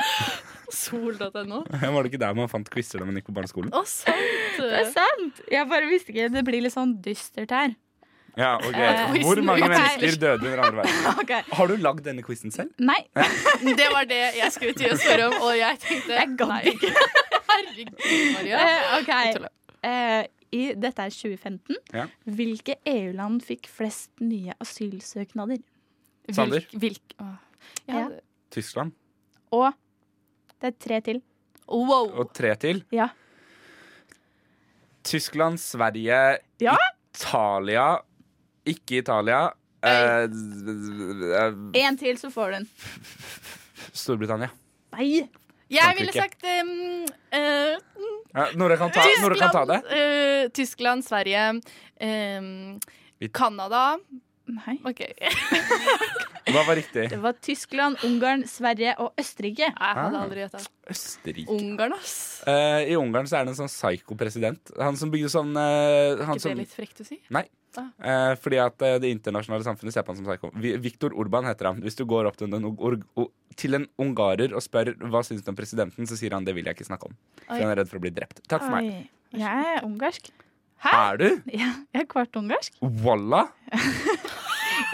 Speaker 6: *laughs* Sol.no.
Speaker 3: Var det ikke der man fant quizer da man gikk på barneskolen?
Speaker 6: Å, sant!
Speaker 7: Det er sant! Jeg bare visste ikke. Det blir litt sånn dystert her.
Speaker 3: Ja, ok.
Speaker 7: Eh,
Speaker 3: Hvor mange
Speaker 7: quizen-
Speaker 3: mennesker døde under andre verdenskrig?
Speaker 7: *laughs* Ok.
Speaker 3: Har du lagd denne quizen selv?
Speaker 7: Nei,
Speaker 6: Det var det jeg skulle til å spørre om, og jeg tenkte
Speaker 7: jeg gadd
Speaker 6: nei.
Speaker 7: ikke.
Speaker 6: Herregud, Maria.
Speaker 7: *laughs* Eh, ok.
Speaker 6: Jeg tuller.
Speaker 7: Eh, i, dette er 2015.
Speaker 3: Ja.
Speaker 7: Hvilke EU-land fikk flest nye asylsøknader?
Speaker 3: Sander?
Speaker 6: Hvilk, hvilk, åh. Jeg
Speaker 7: Ja.
Speaker 6: hadde-
Speaker 3: Tyskland.
Speaker 7: Og det er tre til.
Speaker 6: Wow.
Speaker 3: Og tre til.
Speaker 7: Ja.
Speaker 3: Tyskland, Sverige,
Speaker 7: Ja?
Speaker 3: Italia Ikke Italia. Eh, eh,
Speaker 7: Én til, så får du den.
Speaker 3: Storbritannia.
Speaker 7: Nei!
Speaker 6: Jeg ville
Speaker 3: Frankrike.
Speaker 6: sagt um, eh,
Speaker 3: Ja, Nora kan ta, Nora kan ta
Speaker 6: Tyskland,
Speaker 3: det.
Speaker 6: eh, Tyskland, Sverige, um,
Speaker 3: Vi-
Speaker 6: Canada
Speaker 7: Nei.
Speaker 6: OK.
Speaker 3: Hva var riktig?
Speaker 7: Det var Tyskland, Ungarn, Sverige og Østerrike.
Speaker 6: Jeg hadde aldri gjetta.
Speaker 3: Østerrike.
Speaker 6: Ungarn, ass.
Speaker 3: Eh, I Ungarn så er det en sånn psyko-president. Han som bygde sånn eh, han
Speaker 6: Er ikke
Speaker 3: som,
Speaker 6: det litt frekt å si?
Speaker 3: eh, Fordi at eh, det internasjonale samfunnet ser på han som psyko. Vi- Viktor Orban heter han. Hvis du går opp til en, ung- ung- til en ungarer og spør hva syns du om presidenten, så sier han det vil jeg ikke snakke om. For
Speaker 6: Oi.
Speaker 3: han er redd for å bli drept. Takk for meg.
Speaker 7: Oi. Jeg er ungarsk. *laughs*
Speaker 3: Er du?
Speaker 7: Ja, jeg er kvart ungarsk.
Speaker 3: Walla!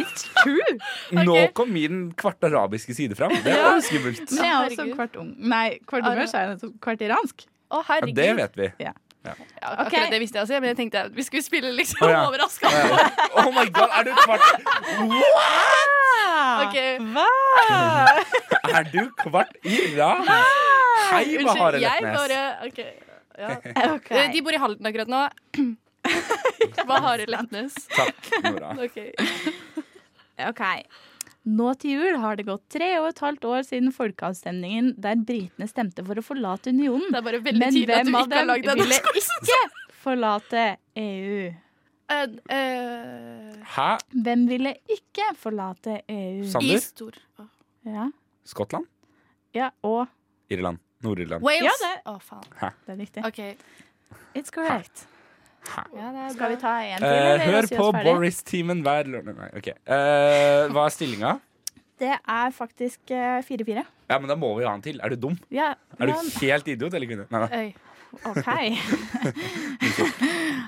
Speaker 7: It's true!
Speaker 3: Nå kom min kvart arabiske side fram. Det var skummelt.
Speaker 7: *laughs* Men jeg er også
Speaker 6: Herregud.
Speaker 7: kvart ung... Nei, kvart
Speaker 6: Er
Speaker 7: ungarsk er jeg nettopp kvart iransk.
Speaker 6: Å,
Speaker 3: Ja,
Speaker 6: herregud.
Speaker 3: det vet vi.
Speaker 6: Ja,
Speaker 7: Ok.
Speaker 6: akkurat det visste jeg også, men jeg tenkte vi skulle spille liksom
Speaker 3: Å, ja.
Speaker 6: overraskende.
Speaker 3: Oh my god, er du kvart
Speaker 6: *laughs* Ok.
Speaker 7: Hva?
Speaker 3: Er du kvart iransk? Hei, Bahareh
Speaker 6: Ah! Unnskyld, jeg
Speaker 3: Letnes.
Speaker 6: bare OK. Ja.
Speaker 7: Ok.
Speaker 6: Eh, De bor i Halden akkurat nå. Bahareh Letnes.
Speaker 3: Takk, Nora.
Speaker 6: Ok.
Speaker 7: Ok. Nå til jul har det gått tre og et halvt år siden folkeavstemningen der britene stemte for å forlate unionen.
Speaker 6: Det er bare veldig
Speaker 7: Men
Speaker 6: tydelig at du
Speaker 7: hvem av
Speaker 6: ikke har
Speaker 7: dem
Speaker 6: lagd
Speaker 7: ville
Speaker 6: denne *laughs*
Speaker 7: ikke forlate E EU?
Speaker 6: skolen. Eh, eh,
Speaker 3: Hæ?
Speaker 7: Hvem ville ikke forlate EU?
Speaker 6: I
Speaker 3: Sander?
Speaker 6: stor Å,
Speaker 7: Ja,
Speaker 3: Skottland?
Speaker 7: ja og
Speaker 3: Irland. Nord-Irland.
Speaker 6: Wales.
Speaker 7: Ja, det-
Speaker 6: Å, faen.
Speaker 7: Det er riktig.
Speaker 6: OK.
Speaker 7: It's correct.
Speaker 6: Ja, det er
Speaker 7: Skal vi
Speaker 6: bra.
Speaker 7: ta en til?
Speaker 3: Eh,
Speaker 7: eller
Speaker 3: hør
Speaker 7: gjør vi
Speaker 3: på
Speaker 7: oss ferdig?
Speaker 3: Boris-teamen hver lørdag. Nei, ok. Eh, hva er stillinga?
Speaker 7: Det er faktisk eh, 4-4.
Speaker 3: Ja, men da må vi ha en til. Er du dum?
Speaker 7: Ja,
Speaker 3: Er du
Speaker 7: men-
Speaker 3: helt idiot eller kvinne? Nei, nei.
Speaker 6: Øy.
Speaker 7: OK.
Speaker 3: *laughs*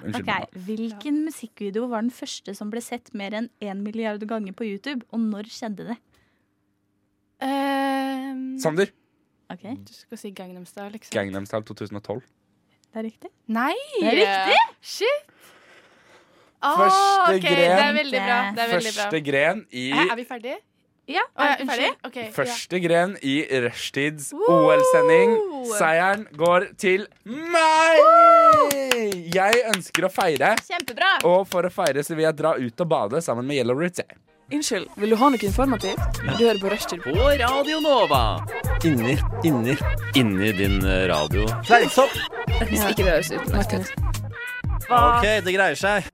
Speaker 3: Unnskyld.
Speaker 7: Ok, Hvilken musikkvideo var den første som ble sett mer enn én milliard ganger på YouTube, og når skjedde det?
Speaker 6: Ehm,
Speaker 3: Sander.
Speaker 7: Ok,
Speaker 3: Mm.
Speaker 6: du skal si Gangnam Style, liksom.
Speaker 3: Gangnam Style 2012.
Speaker 7: Det er riktig.
Speaker 6: Nei!
Speaker 7: Det er riktig!
Speaker 6: Shit. Å,
Speaker 3: Første
Speaker 6: ok, Det er
Speaker 3: gren.
Speaker 6: veldig bra. Det er veldig bra.
Speaker 3: Første gren i
Speaker 6: Hæ, er vi ferdige?
Speaker 7: Ja,
Speaker 6: Å, ja,
Speaker 7: er du ferdig?
Speaker 6: unnskyld. Ok, ja.
Speaker 3: Første gren i Rushtids
Speaker 6: Woo!
Speaker 3: OL-sending. Seieren går til meg! Jeg ønsker å feire,
Speaker 7: Kjempebra!
Speaker 3: og for å feire så vil jeg dra ut og bade sammen med Yellow Roots. jeg.
Speaker 10: Unnskyld, vil du ha noe informativt? Du hører på Rushtid.
Speaker 4: På Radio Nova.
Speaker 5: Inni, inni, inni din eh, radio.
Speaker 4: Fleisopp.
Speaker 10: Ikke det høres utenlandsk ut.
Speaker 5: OK, det greier seg.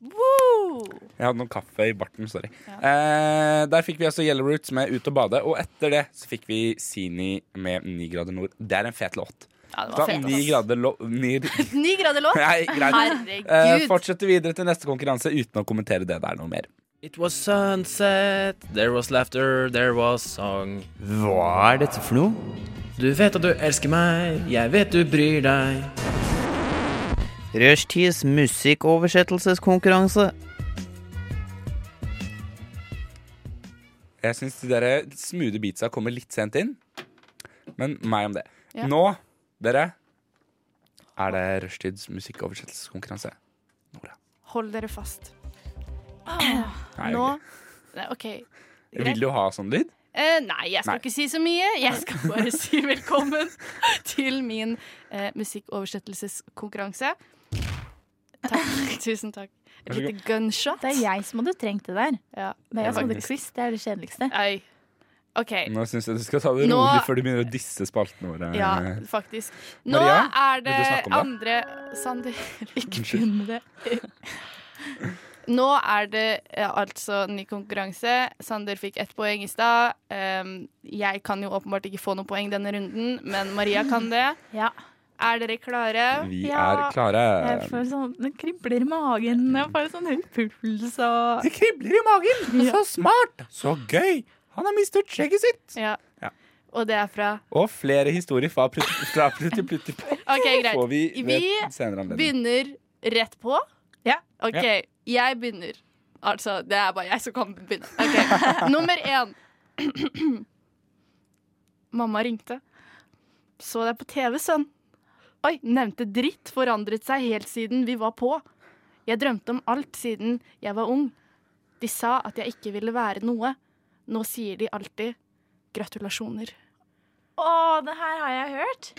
Speaker 3: Jeg hadde noe kaffe i barten, sorry. Eh, der fikk vi altså Yellow Roots med Ut og bade, og etter det så fikk vi Sini med 9 grader nord. Det er en fet låt.
Speaker 6: Ja, det
Speaker 3: Da,
Speaker 6: var fett.
Speaker 3: 9 grader lo... Ni... *laughs*
Speaker 6: Ni grader låt.
Speaker 3: Nei, greit. Eh,
Speaker 6: Herregud.
Speaker 3: fortsetter videre til neste konkurranse uten å kommentere det der noe mer.
Speaker 10: It was sunset, there was laughter, there was song. Hva er dette for noe? Du vet at du elsker meg, jeg vet du bryr deg.
Speaker 1: Rushtids musikkoversettelseskonkurranse.
Speaker 3: Jeg syns de der smoothie beatsa kommer litt sent inn. Men meg om det.
Speaker 6: Ja.
Speaker 3: Nå, dere, er det Rushtids musikkoversettelseskonkurranse.
Speaker 6: Hold dere fast.
Speaker 7: Ah.
Speaker 3: Nei,
Speaker 6: Nå
Speaker 3: ok.
Speaker 6: Nei, OK.
Speaker 3: Vil du ha sånn lyd?
Speaker 6: Eh, nei, jeg
Speaker 3: Nei.
Speaker 6: skal ikke si så mye. Jeg
Speaker 3: *laughs*
Speaker 6: skal bare si velkommen til min eh, musikkoversettelseskonkurranse. Takk.
Speaker 3: *laughs*
Speaker 6: Tusen takk. Et
Speaker 3: Vær så
Speaker 6: lite gunshot.
Speaker 7: Det er jeg som hadde trengt det der.
Speaker 6: Ja.
Speaker 7: Det er jeg som hadde
Speaker 3: Faktisk.
Speaker 7: quiz. Det er det kjedeligste.
Speaker 6: Nei. OK.
Speaker 3: Nå syns jeg du skal ta det
Speaker 6: Nå-
Speaker 3: rolig før du begynner å disse spaltene våre.
Speaker 6: Ja, faktisk. Nå
Speaker 3: Eh, Maria,
Speaker 6: er
Speaker 3: vil
Speaker 6: det
Speaker 3: du snakke om det?
Speaker 6: andre Sander, *laughs* ikke
Speaker 3: Unnskyld.
Speaker 6: begynn med det. Nå er det eh, altså ny konkurranse. Sander fikk ett poeng i stad. Um, jeg kan jo åpenbart ikke få noe poeng denne runden, men Maria kan det.
Speaker 7: Ja.
Speaker 6: Er dere klare?
Speaker 3: Vi
Speaker 7: Ja.
Speaker 3: er klare.
Speaker 7: Jeg får sånn, Det kribler i magen, jeg får sånn høy puls og
Speaker 3: Det kribler i magen! Så smart! Så gøy! Han har mistet skjegget sitt!
Speaker 6: Ja.
Speaker 3: Ja.
Speaker 6: Og det er fra
Speaker 3: Og flere historier fra Plutti Plutti Plutti
Speaker 6: OK, greit.
Speaker 3: får vi
Speaker 6: Vi
Speaker 3: ved senere anledning.
Speaker 6: Begynner rett på. Ja. OK, jeg begynner. Altså, det er bare jeg som kan begynne. *laughs* Ok, Nummer én. *clears throat* Mamma ringte. Så deg på TV, sønn. Oi, nevnte dritt forandret seg helt siden vi var på. Jeg drømte om alt siden jeg var ung. De sa at jeg ikke ville være noe. Nå sier de alltid gratulasjoner.
Speaker 7: Å, det her har jeg hørt.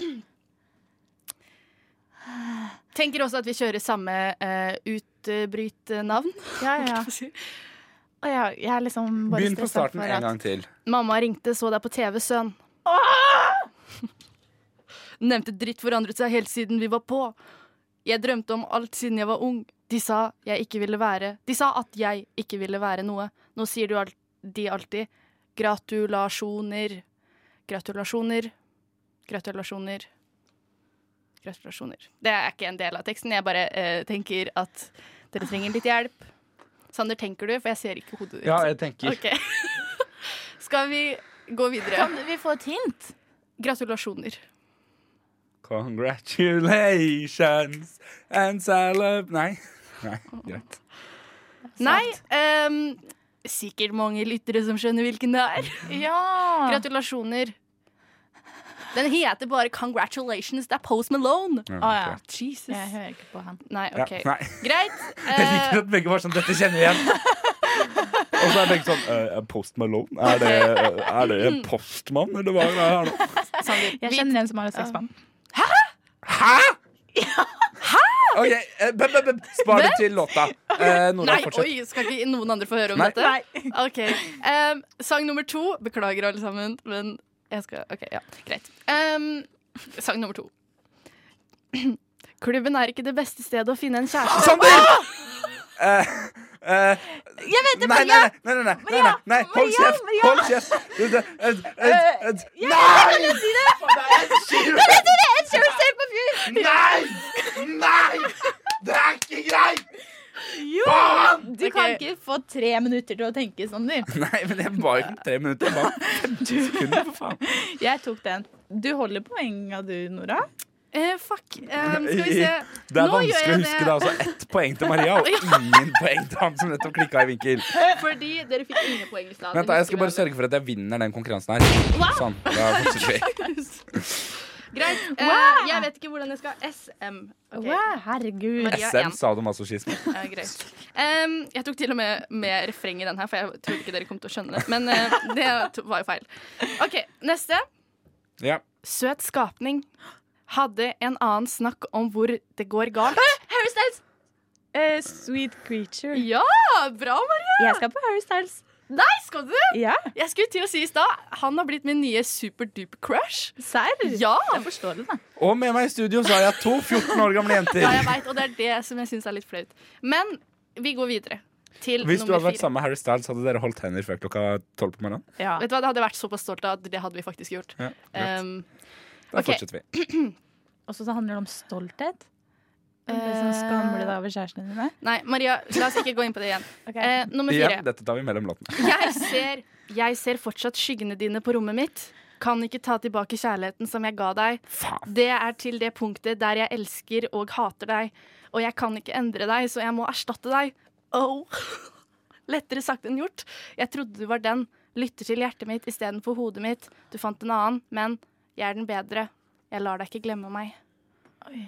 Speaker 6: Tenker også at vi kjører samme uh, utbrytnavn. *laughs*
Speaker 7: Ja, ja. Og jeg, jeg er liksom bare
Speaker 3: Begynn på
Speaker 7: stressa
Speaker 3: starten
Speaker 7: for
Speaker 3: en
Speaker 7: at-
Speaker 3: gang til.
Speaker 6: Mamma ringte, så deg på TV, sønn. Ah! Nevnte dritt forandret seg helt siden vi var på. Jeg drømte om alt siden jeg var ung. De sa jeg ikke ville være De sa at jeg ikke ville være noe. Nå sier du al de alltid gratulasjoner. Gratulasjoner. Gratulasjoner. Gratulasjoner. Det er ikke en del av teksten. Jeg bare eh, tenker at dere trenger litt hjelp. Sander, tenker du? For jeg ser ikke hodet ditt.
Speaker 3: Ja, jeg tenker.
Speaker 6: Ok. *laughs* Skal vi gå videre?
Speaker 7: Kan vi få et hint?
Speaker 6: Gratulasjoner.
Speaker 3: Congratulations and salab... Nei. Nei, greit.
Speaker 6: Nei, ehm, sikkert mange lyttere som skjønner hvilken det er.
Speaker 7: Ja.
Speaker 6: Gratulasjoner. Den heter bare 'Congratulations'. Det er Post Malone.
Speaker 3: Ja,
Speaker 7: Å, ja.
Speaker 6: Jesus.
Speaker 7: Jeg hører ikke på han.
Speaker 6: Nei,
Speaker 3: Ja,
Speaker 6: OK.
Speaker 3: nei.
Speaker 6: Greit.
Speaker 3: *laughs* Jeg
Speaker 6: eh,
Speaker 3: liker at begge var sånn Dette kjenner vi igjen. Og så er begge sånn eh, Post Malone? Er det, er det en postmann, eller hva er det her nå?
Speaker 6: Sander,
Speaker 7: Jeg
Speaker 6: vi-
Speaker 7: kjenner en som har et sexband.
Speaker 3: Hæ?! OK, eh, b- b- b- spar det til låta. Eh, Nora,
Speaker 6: Nei,
Speaker 3: fortsett.
Speaker 6: oi, skal ikke noen andre få høre om
Speaker 3: Nei.
Speaker 6: dette? Ok, Ehm, Sang nummer to. Beklager, alle sammen, men jeg skal OK, ja, greit. Ehm, sang nummer to. *clears throat* Klubben er ikke det beste stedet å finne en kjæreste.
Speaker 3: Sander! Eh, eh,
Speaker 7: Jeg vet det,
Speaker 3: nei, nei,
Speaker 7: Maria!
Speaker 3: nei, nei, nei, nei,
Speaker 7: Maria!
Speaker 3: nei, nei, hold
Speaker 7: Maria,
Speaker 3: kjeft!
Speaker 7: Maria!
Speaker 3: Hold kjeft! Du, du, eh, eh, eh,
Speaker 7: Jeg
Speaker 3: Nei!
Speaker 7: ville si det! Jeg vet det, jeg kjører selv på fyr!
Speaker 3: Nei! Nei! Det er ikke greit!
Speaker 7: Jo! *laughs* Du kan ikke få tre minutter til å tenke, Sander.
Speaker 3: Nei, men jeg ba ikke om tre minutter. Jeg ba om 50 sekunder, for faen.
Speaker 7: Jeg tok den. Du holder poenga du, Nora.
Speaker 6: Eh, fuck. Ehm, skal vi se.
Speaker 3: Det er
Speaker 6: Nå gjør
Speaker 3: vanskelig å
Speaker 6: jeg
Speaker 3: huske
Speaker 6: det.
Speaker 3: det. Altså ett poeng til Maria
Speaker 6: *laughs*
Speaker 3: og ingen poeng til han som nettopp klikka i vinkel.
Speaker 6: Fordi dere fikk ingen poeng i stad.
Speaker 3: Vent da, Jeg skal bare sørge for at jeg vinner den konkurransen her. Sånn, da fortsetter vi
Speaker 6: Greit. Eh, jeg vet ikke hvordan jeg skal SM. Ok,
Speaker 7: herregud.
Speaker 6: *laughs* Maria
Speaker 3: SM
Speaker 6: en.
Speaker 3: sadomasochisme.
Speaker 6: Ja, greit. Ehm, jeg tok til og med med refreng i den her, for jeg trodde ikke dere kom til å skjønne det. Men eh, det to- var jo feil. OK, neste.
Speaker 3: Ja.
Speaker 6: Søt skapning. Hadde en annen snakk om hvor det går galt.
Speaker 7: Harry Styles! Eh, sweet creature.
Speaker 6: Ja, bra, Maria!
Speaker 7: Jeg skal på Harry Styles.
Speaker 6: Nei, skal du?
Speaker 7: Ja,
Speaker 6: Jeg skulle til å si i stad han har blitt min nye superduper crush.
Speaker 7: serr?
Speaker 6: Ja!
Speaker 7: Jeg forstår det, da.
Speaker 3: Og med meg i studio så har jeg to 14 år gamle jenter.
Speaker 6: Ja, jeg vet, og det er det som jeg syns er litt flaut. Men vi går videre til
Speaker 3: Hvis du
Speaker 6: nummer
Speaker 3: hadde vært
Speaker 6: fire.
Speaker 3: sammen med Harry Styles, hadde dere holdt hender før klokka tolv på morgenen?
Speaker 7: Ja.
Speaker 6: Vet du hva, Det hadde jeg vært såpass stolt av at det hadde vi faktisk gjort.
Speaker 3: Ja, greit.
Speaker 6: Um,
Speaker 3: Da
Speaker 6: ok.
Speaker 3: fortsetter vi.
Speaker 7: Og så handler det om stolthet.
Speaker 6: Eh.
Speaker 7: Liksom skamle deg over kjærestene dine.
Speaker 6: nei, Maria, la oss ikke gå inn på det igjen. Eh, nummer
Speaker 3: Igjen,
Speaker 6: fire.
Speaker 3: dette tar vi mellom låtene.
Speaker 6: Jeg ser, jeg ser fortsatt skyggene dine på rommet mitt. Kan ikke ta tilbake kjærligheten som jeg ga deg.
Speaker 3: Faen.
Speaker 6: Det er til det punktet der jeg elsker og hater deg. Og jeg kan ikke endre deg, så jeg må erstatte deg. Oh. *laughs* Lettere sagt enn gjort. Jeg trodde du var den. Lytter til hjertet mitt istedenfor hodet mitt. Du fant en annen, men jeg er den bedre. Jeg lar deg ikke glemme meg.
Speaker 7: Oi.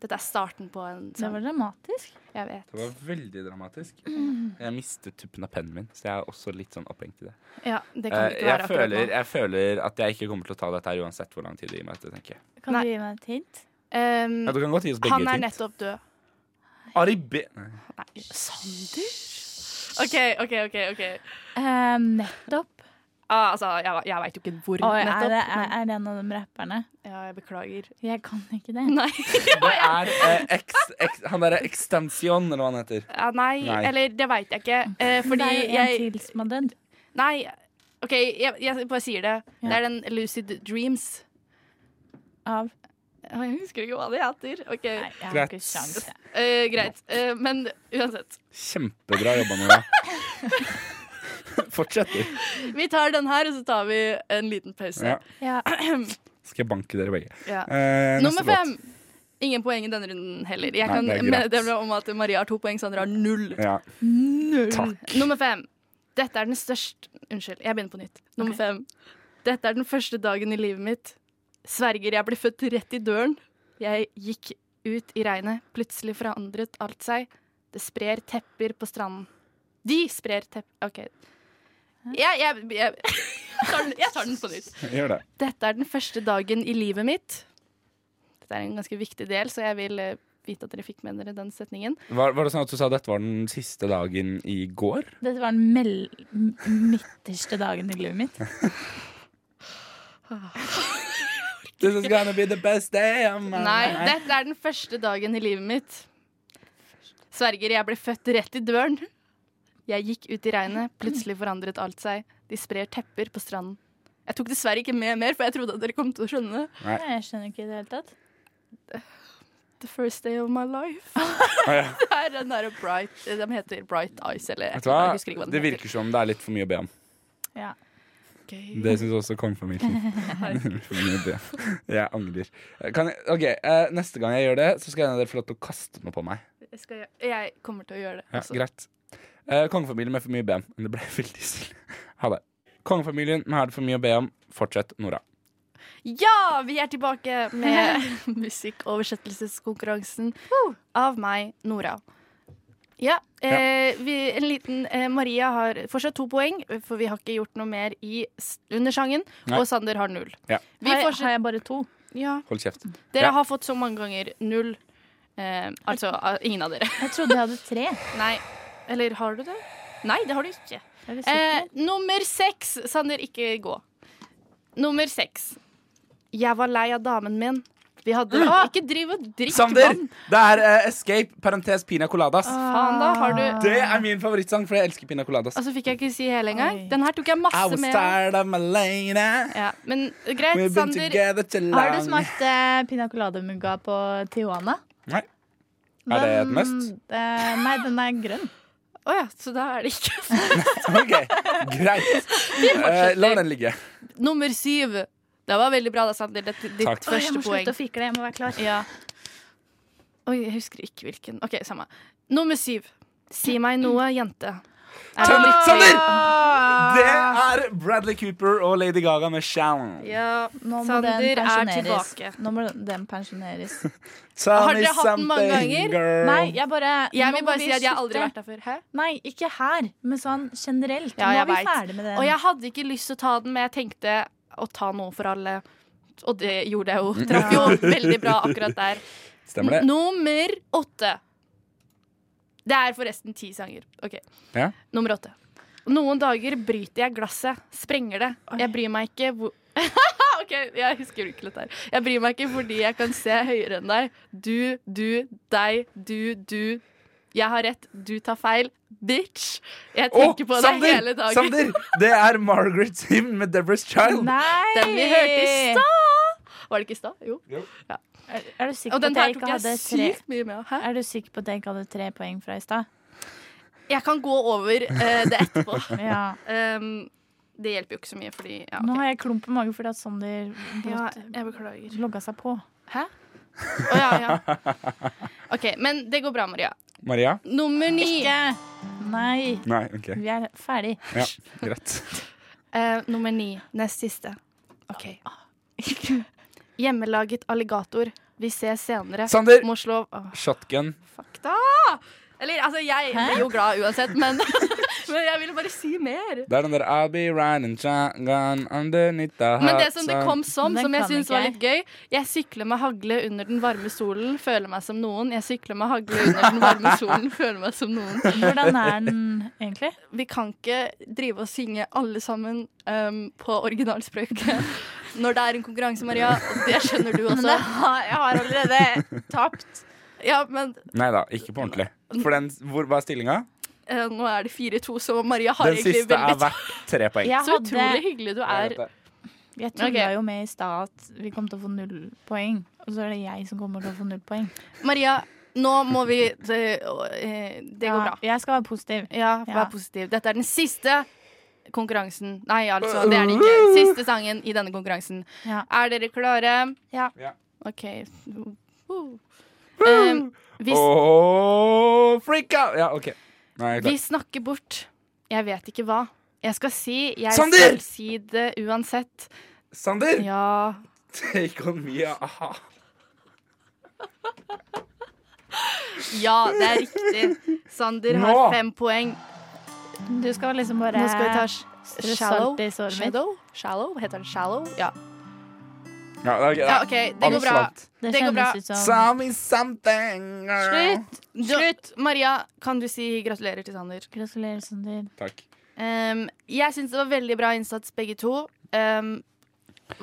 Speaker 6: Dette er starten på en
Speaker 7: Det
Speaker 6: sang.
Speaker 7: var dramatisk.
Speaker 6: Jeg vet.
Speaker 3: Det var veldig dramatisk.
Speaker 6: Mm.
Speaker 3: Jeg mistet tuppen av pennen min, så jeg er også litt sånn opphengt i det.
Speaker 6: Ja,
Speaker 3: Eh,
Speaker 6: det kan det ikke
Speaker 3: Jeg
Speaker 6: være akkurat
Speaker 3: føler,
Speaker 6: nå.
Speaker 3: jeg føler at jeg ikke kommer til å ta dette her uansett hvor lang tid det gir meg. til, tenker jeg.
Speaker 7: Kan
Speaker 6: Nei.
Speaker 7: du gi meg et hint?
Speaker 6: Um,
Speaker 3: Ja, du kan godt gi oss begge
Speaker 6: han er
Speaker 3: et hint.
Speaker 6: nettopp død.
Speaker 3: Ari B... Nei.
Speaker 6: Nei, Sander? OK, OK, OK. ok
Speaker 7: Eh, nettopp.
Speaker 6: ah, Altså, jeg, jeg veit jo ikke hvor
Speaker 7: Oi, er,
Speaker 6: nettopp.
Speaker 7: det, er, er det en av de rapperne?
Speaker 6: men- Ja, jeg beklager.
Speaker 7: Jeg kan ikke det.
Speaker 6: *laughs* Nei.
Speaker 3: Det er eh, ex, ex, han derre Extension, eller hva han heter.
Speaker 6: Ja, nei,
Speaker 3: Nei.
Speaker 6: eller det veit jeg ikke. Eh,
Speaker 7: Fordi
Speaker 6: fordi
Speaker 7: det er jo en
Speaker 6: jeg
Speaker 7: til som har dødd.
Speaker 6: Nei, OK, jeg, jeg bare sier det.
Speaker 7: Ja.
Speaker 6: Det er den Lucid Dreams.
Speaker 7: Av
Speaker 6: Å, Jeg husker ikke hva det heter. OK,
Speaker 7: Nei, jeg har
Speaker 3: Greit.
Speaker 7: ikke sjanse.
Speaker 6: eh, greit. Eh, men uansett.
Speaker 3: Kjempebra jobba, Nora. Fortsett, du.
Speaker 6: Vi tar den her, og så tar vi en liten pause.
Speaker 3: Ja.
Speaker 7: Ja.
Speaker 3: Skal jeg banke dere begge.
Speaker 6: Ja.
Speaker 3: Eh, neste
Speaker 6: Nummer fem.
Speaker 3: låt.
Speaker 6: Ingen poeng i denne runden heller. Jeg
Speaker 3: Nei,
Speaker 6: kan
Speaker 3: det er
Speaker 6: mene
Speaker 3: greit.
Speaker 6: det om at Maria har to poeng, Sandra har null.
Speaker 3: Ja.
Speaker 6: Null.
Speaker 3: Takk.
Speaker 6: Nummer fem. Dette er den største Unnskyld, jeg begynner på nytt. Nummer fem. Dette er den første dagen i livet mitt. Sverger, jeg ble født rett i døren. Jeg gikk ut i regnet. Plutselig forandret alt seg. Det sprer tepper på stranden. De sprer tepper OK. Jeg, jeg, jeg, jeg, tar den, jeg tar den på nytt.
Speaker 3: Gjør det.
Speaker 6: Dette er den første dagen i livet mitt. Dette er en ganske viktig del, så jeg vil eh, vite at dere fikk med dere den setningen.
Speaker 3: Var, var det sånn at du sa dette var den siste dagen i går?
Speaker 7: Dette var den mel m- midterste dagen i livet mitt.
Speaker 3: This is gonna be the best day of my
Speaker 6: Nei,
Speaker 3: life.
Speaker 6: dette er den første dagen i livet mitt. Sverger, jeg ble født rett i døren. Jeg gikk ut i regnet, plutselig forandret alt seg. De sprer tepper på stranden. Jeg tok dessverre ikke med mer, for jeg trodde at dere kom til å skjønne.
Speaker 3: Nei.
Speaker 7: Jeg skjønner ikke i det hele tatt.
Speaker 6: The first day of my life. *laughs*
Speaker 3: ja.
Speaker 6: det er den derre Bright De heter Bright Eyes, eller
Speaker 3: Vet
Speaker 6: et
Speaker 3: du
Speaker 6: eller annet.
Speaker 3: hva?
Speaker 6: Jeg husker ikke hva den
Speaker 3: Det virker som det er litt for mye å be om.
Speaker 7: Ja.
Speaker 3: Det syns også
Speaker 6: *laughs*
Speaker 3: *laughs* kongefamilien. For mye å be om. jeg angrer. Kan jeg, ok, eh, Neste gang jeg gjør det, så skal en av dere få lov til å kaste noe på meg.
Speaker 6: Jeg, skal, gjøre- jeg kommer til å gjøre det.
Speaker 3: Ja,
Speaker 6: også.
Speaker 3: greit. Eh, kongefamilien med for mye å be om. Men det ble *laughs* veldig stille. Ha det. Kongefamilien med er det for mye å be om. Fortsett, Nora.
Speaker 6: Ja, vi er tilbake med *laughs* musikkoversettelseskonkurransen av meg, Nora. Ja, eh, vi, en liten eh, Maria har fortsatt to poeng, for vi har ikke gjort noe mer i s- under sangen.
Speaker 3: Nei.
Speaker 6: Og Sander har null.
Speaker 3: Ja,
Speaker 6: Vi
Speaker 7: Har,
Speaker 6: fortsetter-
Speaker 7: har jeg bare to?
Speaker 6: Ja.
Speaker 3: Hold kjeft.
Speaker 6: Dere
Speaker 3: Ja.
Speaker 6: har fått så mange ganger null. Eh, altså eh, ingen av dere.
Speaker 7: Jeg trodde jeg hadde tre.
Speaker 6: Nei. Eller har du det? Nei, det har du ikke.
Speaker 7: Er vi sikre?
Speaker 6: Eh, nummer seks. Sander, ikke gå. Nummer seks. Jeg var lei av damen min. Vi hadde Ikke driv og drikk
Speaker 3: Sander!
Speaker 6: vann.
Speaker 3: Det er eh, Escape, parentes Pina Coladas.
Speaker 6: Faen, da. Har du
Speaker 3: Det er min favorittsang, for jeg elsker Pina Coladas.
Speaker 6: Altså fikk jeg ikke si hele engang.
Speaker 7: Oi.
Speaker 6: Den her tok jeg
Speaker 3: I
Speaker 6: masse
Speaker 3: was
Speaker 6: med.
Speaker 3: tired of my lady.
Speaker 6: Ja, men
Speaker 3: We've
Speaker 6: greit,
Speaker 3: been
Speaker 6: Sander.
Speaker 3: together too long.
Speaker 7: Har du smakt eh, pina colada-mugga på Tijuana?
Speaker 3: Nei. Er det et must?
Speaker 7: eh, nei, den er grønn.
Speaker 6: Å ja, så da er det ikke *laughs*
Speaker 3: Ok, greit. Eh, la den ligge.
Speaker 6: Nummer syv. Det var veldig bra, da, Sander. Det er ditt
Speaker 3: Takk.
Speaker 7: Å, jeg
Speaker 6: første
Speaker 7: må
Speaker 6: poeng.
Speaker 7: slutte å fikle, jeg må være klar.
Speaker 6: Ja. Oi, jeg husker ikke hvilken. OK, samme. Nummer syv. Si meg noe, jente. Er det
Speaker 3: Sander!
Speaker 6: riktig?
Speaker 3: Sander! Det er Bradley Cooper og Lady Gaga med Shallow.
Speaker 6: Ja,
Speaker 7: Nå må
Speaker 6: Sander
Speaker 7: den
Speaker 6: er
Speaker 7: pensjoneres.
Speaker 6: tilbake.
Speaker 7: Nå må den pensjoneres.
Speaker 3: *laughs* Tell
Speaker 6: Har
Speaker 3: me
Speaker 6: dere hatt den mange
Speaker 3: something,
Speaker 6: ganger?
Speaker 3: girl.
Speaker 7: Nei, jeg bare
Speaker 6: Jeg
Speaker 7: nå
Speaker 6: vil
Speaker 7: må
Speaker 6: bare
Speaker 7: vi
Speaker 6: si at jeg har aldri
Speaker 7: slutte.
Speaker 6: vært der før. Hæ?
Speaker 7: Nei, ikke her, men sånn generelt.
Speaker 6: Ja,
Speaker 7: nå
Speaker 6: jeg
Speaker 7: er vi
Speaker 6: vet.
Speaker 7: ferdig med den.
Speaker 6: Og jeg hadde ikke lyst til å ta den, men jeg tenkte å ta noe for alle. Og det gjorde jeg jo. Traff jo veldig bra akkurat der.
Speaker 3: Stemmer det?
Speaker 6: Nummer åtte. Det er forresten ti sanger. Ok.
Speaker 3: Ja.
Speaker 6: Nummer åtte. Noen dager bryter jeg glasset, sprenger det. Jeg bryr meg ikke hvor *laughs* OK, jeg husker ikke dette her. Jeg bryr meg ikke fordi jeg kan se høyere enn deg. Du, du, deg, du, du. Jeg har rett, du tar feil. Bitch. Jeg
Speaker 3: Å,
Speaker 6: tenker på deg
Speaker 3: Sander!
Speaker 6: hele dagen.
Speaker 3: Sander! Det er Margaret Sim med Deborah's Child.
Speaker 7: Nei!
Speaker 6: Den vi hørte i stad. Var det ikke i stad? Jo.
Speaker 7: Er, er du sikker
Speaker 6: Og
Speaker 7: på
Speaker 6: den
Speaker 7: at
Speaker 6: her
Speaker 7: jeg
Speaker 6: tok
Speaker 7: ikke hadde
Speaker 6: jeg
Speaker 7: tre
Speaker 6: sykt mye med. Hæ?
Speaker 7: Er du sikker på at jeg ikke hadde tre poeng fra i
Speaker 6: *laughs*
Speaker 7: stad?
Speaker 6: Jeg kan gå over eh, det
Speaker 3: *laughs*
Speaker 6: etterpå.
Speaker 7: Ja.
Speaker 6: Um, det hjelper jo ikke så mye, fordi ja,
Speaker 7: Nå
Speaker 6: ok.
Speaker 7: har jeg klump i magen fordi at Sander
Speaker 6: ja,
Speaker 7: brått
Speaker 6: jeg beklager.
Speaker 7: logga seg på.
Speaker 6: Hæ? Å ja, ja. OK, men det går bra, Maria.
Speaker 3: Maria?
Speaker 6: Nummer ni.
Speaker 7: Nei,
Speaker 3: Nei, ok.
Speaker 7: vi er ferdig.
Speaker 3: Ja, greit.
Speaker 6: Eh, nummer ni. Nest siste. OK. *laughs* Hjemmelaget alligator. Vi ses senere.
Speaker 3: Sander!
Speaker 6: Må slå Åh,
Speaker 3: Shotgun.
Speaker 6: Fuck da! Eller altså, jeg blir jo glad uansett, *laughs* men, men jeg ville bare si mer.
Speaker 3: Det er den der I'll be riding shotgun underneath the hot
Speaker 6: Men det som det kom som,
Speaker 7: Den
Speaker 6: som jeg
Speaker 7: kan
Speaker 6: syns
Speaker 7: ikke
Speaker 6: var
Speaker 7: jeg.
Speaker 6: litt gøy Jeg sykler med hagle under den varme solen, føler meg som noen. Jeg sykler med hagle under den varme solen, føler meg som noen.
Speaker 7: Hvordan er den
Speaker 6: *laughs*
Speaker 7: egentlig?
Speaker 6: Vi kan ikke drive og synge alle sammen ehm, på
Speaker 7: *laughs*
Speaker 6: originalspråket når det er en konkurranse, Maria. Og det skjønner du
Speaker 7: Men
Speaker 6: *laughs*
Speaker 7: jeg
Speaker 6: også.
Speaker 7: har, jeg har allerede tapt.
Speaker 6: Ja, men
Speaker 3: Nei da, ikke på ordentlig. For den, hvor, hva er stillinga?
Speaker 6: eh, nå er det 4-2, så Maria har
Speaker 3: Den
Speaker 6: egentlig
Speaker 3: siste er
Speaker 6: veldig
Speaker 3: verdt tre poeng.
Speaker 7: Jeg,
Speaker 6: Så
Speaker 7: hadde,
Speaker 6: utrolig hyggelig du
Speaker 3: Jeg
Speaker 6: er.
Speaker 3: vet det.
Speaker 7: jeg tulla
Speaker 6: Ok.
Speaker 7: jo med i stad at vi kom til å få null poeng. Og så er det jeg som kommer til å få null poeng.
Speaker 6: Maria, nå må vi
Speaker 3: *laughs*
Speaker 6: Det, eh, det går bra.
Speaker 7: Ja, jeg skal være positiv.
Speaker 6: Ja,
Speaker 7: Ja.
Speaker 6: vær positiv. Dette er den siste konkurransen. Nei, altså, det er det ikke. Siste sangen i denne konkurransen.
Speaker 7: Ja.
Speaker 6: Er dere klare?
Speaker 7: Ja.
Speaker 3: Ja.
Speaker 6: OK. Eh, vi, s-
Speaker 3: Åh, freak out! Ja, OK. Nei, jeg er
Speaker 6: vi
Speaker 3: klar.
Speaker 6: snakker bort. Jeg vet ikke hva. Jeg skal si Jeg
Speaker 3: Sander!
Speaker 6: skal si det uansett.
Speaker 3: Sander!
Speaker 6: Ja.
Speaker 3: Take on me, ja. aha.
Speaker 6: ja, det er riktig. Sander har
Speaker 7: Nå!
Speaker 6: fem poeng.
Speaker 7: Du skal liksom bare
Speaker 6: Nå skal vi ta s-
Speaker 7: strø
Speaker 6: shallow.
Speaker 7: salt i såret mitt.
Speaker 6: Shadow? Shallow? Heter den shallow? Ja.
Speaker 3: Ja, det er ok,
Speaker 6: Ja,
Speaker 3: da.
Speaker 6: OK, det går bra.
Speaker 3: Anslatt.
Speaker 7: Det
Speaker 6: Det går bra.
Speaker 7: kjennes ut som
Speaker 3: Sammy something.
Speaker 6: Slutt! Slutt! Maria, kan du si gratulerer til Sander?
Speaker 7: Gratulerer, Sander.
Speaker 3: Takk.
Speaker 6: Ehm, jeg syns det var veldig bra innsats, begge to. Ehm,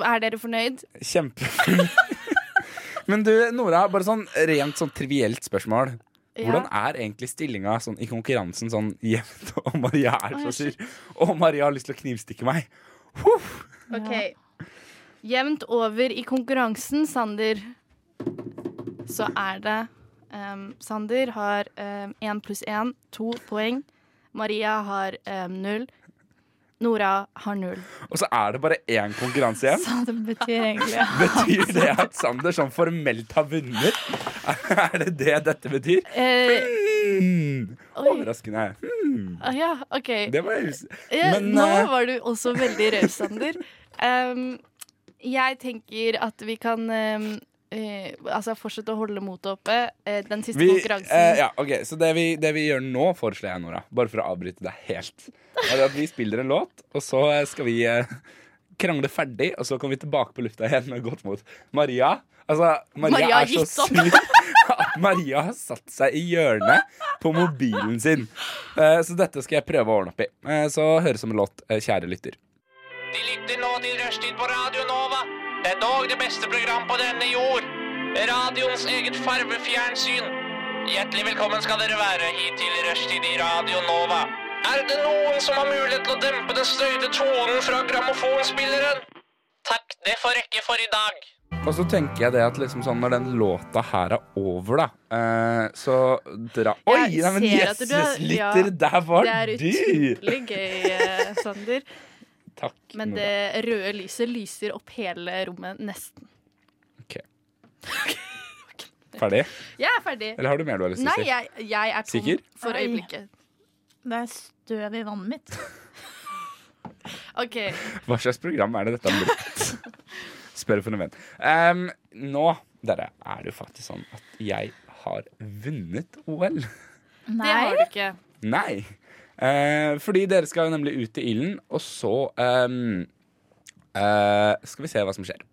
Speaker 6: er dere fornøyd?
Speaker 3: Kjempefull. *laughs* Men du, Nora, bare sånn rent sånn trivielt spørsmål.
Speaker 6: Ja.
Speaker 3: Hvordan er egentlig stillinga sånn, i konkurransen sånn jevnt? *laughs* Og Maria er
Speaker 6: Å,
Speaker 3: så
Speaker 6: shit.
Speaker 3: sur. Og Maria har lyst til å knivstikke meg.
Speaker 6: OK. Jevnt over i konkurransen, Sander, så er det ehm, Sander har én pluss én, to poeng. Maria har ehm, null. Nora har null.
Speaker 3: Og så er det bare én konkurranse
Speaker 6: *laughs*
Speaker 3: igjen.
Speaker 7: Så det betyr egentlig
Speaker 3: Betyr det at Sander sånn formelt har vunnet? *laughs* Er det det dette betyr?
Speaker 6: Eh,
Speaker 3: Hmm.
Speaker 6: Oi.
Speaker 3: Overraskende. Hmm.
Speaker 6: ah, ja, OK.
Speaker 3: Det var hils-
Speaker 6: Ja,
Speaker 3: Men
Speaker 6: nå
Speaker 3: eh,
Speaker 6: var du også veldig raus, Sander. Um, jeg tenker at vi kan um, eh, altså fortsette å holde motet oppe. Eh, den siste
Speaker 3: vi,
Speaker 6: konkurransen
Speaker 3: eh, ja, ok, Så det vi, det vi gjør nå, foreslår jeg, Nora, bare for å avbryte deg helt, er at vi spiller en låt, og så skal vi eh, krangle ferdig, og så kommer vi tilbake på lufta igjen med godt mot Maria. Altså, Maria,
Speaker 6: Maria har
Speaker 3: er så
Speaker 6: gitt opp.
Speaker 3: sur at Maria har satt seg i hjørnet på mobilen sin. Eh, så dette skal jeg prøve å ordne opp i. Eh, så høres som en låt, eh, kjære lytter.
Speaker 4: De lytter nå til Rushtid på Radio Nova. Det er dog det beste program på denne jord. Radioens eget farvefjernsyn. Hjertelig velkommen skal dere være hit til Rushtid i Radio Nova. Er det noen som har mulighet til å dempe den støyte tonen fra grammofonspilleren? Takk, det får rekke for i dag.
Speaker 3: Og så tenker jeg det at liksom sånn når den låta her er over, da, eh, så dra Oi!
Speaker 6: Jeg
Speaker 3: Nei, men
Speaker 6: ser at
Speaker 3: Jesus,
Speaker 6: du er- ja,
Speaker 3: lytter, der var
Speaker 6: Det er
Speaker 3: du!
Speaker 6: utrolig gøy, eh, Sander.
Speaker 3: Takk.
Speaker 6: Men
Speaker 3: Nora.
Speaker 6: det røde lyset lyser opp hele rommet, nesten.
Speaker 3: Ferdig?
Speaker 6: Jeg er ferdig.
Speaker 3: Eller har du mer du har lyst til
Speaker 6: Nei,
Speaker 3: å si?
Speaker 6: jeg, jeg er tom
Speaker 3: Sikker?
Speaker 6: for
Speaker 7: Nei.
Speaker 6: øyeblikket.
Speaker 7: Det er støv i vannet mitt.
Speaker 6: OK.
Speaker 3: Hva slags program er det dette har blitt?
Speaker 6: *laughs*
Speaker 3: Spør for en venn. Em, nå, dere, er det jo faktisk sånn at jeg har vunnet OL.
Speaker 6: Det har du ikke.
Speaker 3: Nei. Eh, fordi dere skal jo nemlig ut i ilden, og så ehm, eh, skal vi se hva som skjer.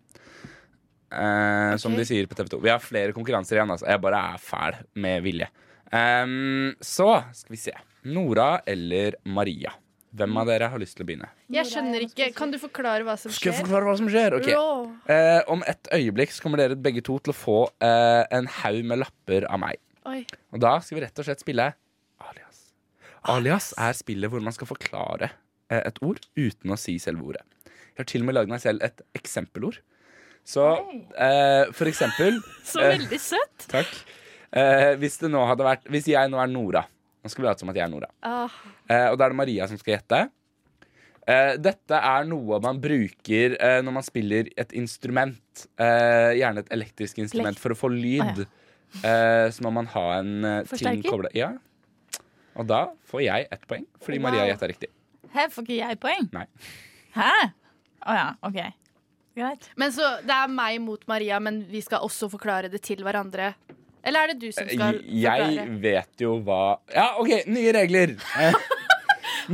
Speaker 3: Eh, Som
Speaker 6: Ok.
Speaker 3: de sier på TV 2. Vi har flere konkurranser igjen. Altså. Jeg bare er fæl med vilje. Ehm, så skal vi se. Nora eller Maria? Hvem av dere har lyst til å begynne?
Speaker 6: Jeg skjønner ikke. Kan du forklare hva som
Speaker 3: Skal jeg
Speaker 6: skjer?
Speaker 3: forklare hva som skjer? Ok.
Speaker 6: Rå.
Speaker 3: Eh, om et øyeblikk så kommer dere begge to til å få eh, en haug med lapper av meg.
Speaker 6: Oi.
Speaker 3: Og da skal vi rett og slett spille alias. Alias er spillet hvor man skal forklare eh, et ord uten å si selve ordet. Jeg har til og med lagd meg selv et eksempelord. Så eh, for eksempel
Speaker 6: Så
Speaker 3: eh,
Speaker 6: veldig søtt.
Speaker 3: Takk. Eh, hvis, det nå hadde vært, hvis jeg nå er Nora Nå skal vi late som at jeg er Nora.
Speaker 6: Ah.
Speaker 3: Eh, og da er det Maria som skal gjette. Eh, dette er noe man bruker eh, når man spiller et instrument. Eh, gjerne et elektrisk instrument for å få lyd. Eh, så må man ha en eh, ting
Speaker 7: Forsterker?
Speaker 3: kobla Ja. Og da får jeg ett poeng, fordi Maria
Speaker 7: Wow.
Speaker 3: gjetta riktig.
Speaker 7: Her får ikke jeg poeng.
Speaker 3: Nei.
Speaker 7: Hæ? Å ja, OK. Greit.
Speaker 6: Men så Det er meg mot Maria, men vi skal også forklare det til hverandre. Eller er det du som skal
Speaker 3: Eh, Jeg
Speaker 6: forklare?
Speaker 3: vet jo hva Ja, OK, nye regler! Eh,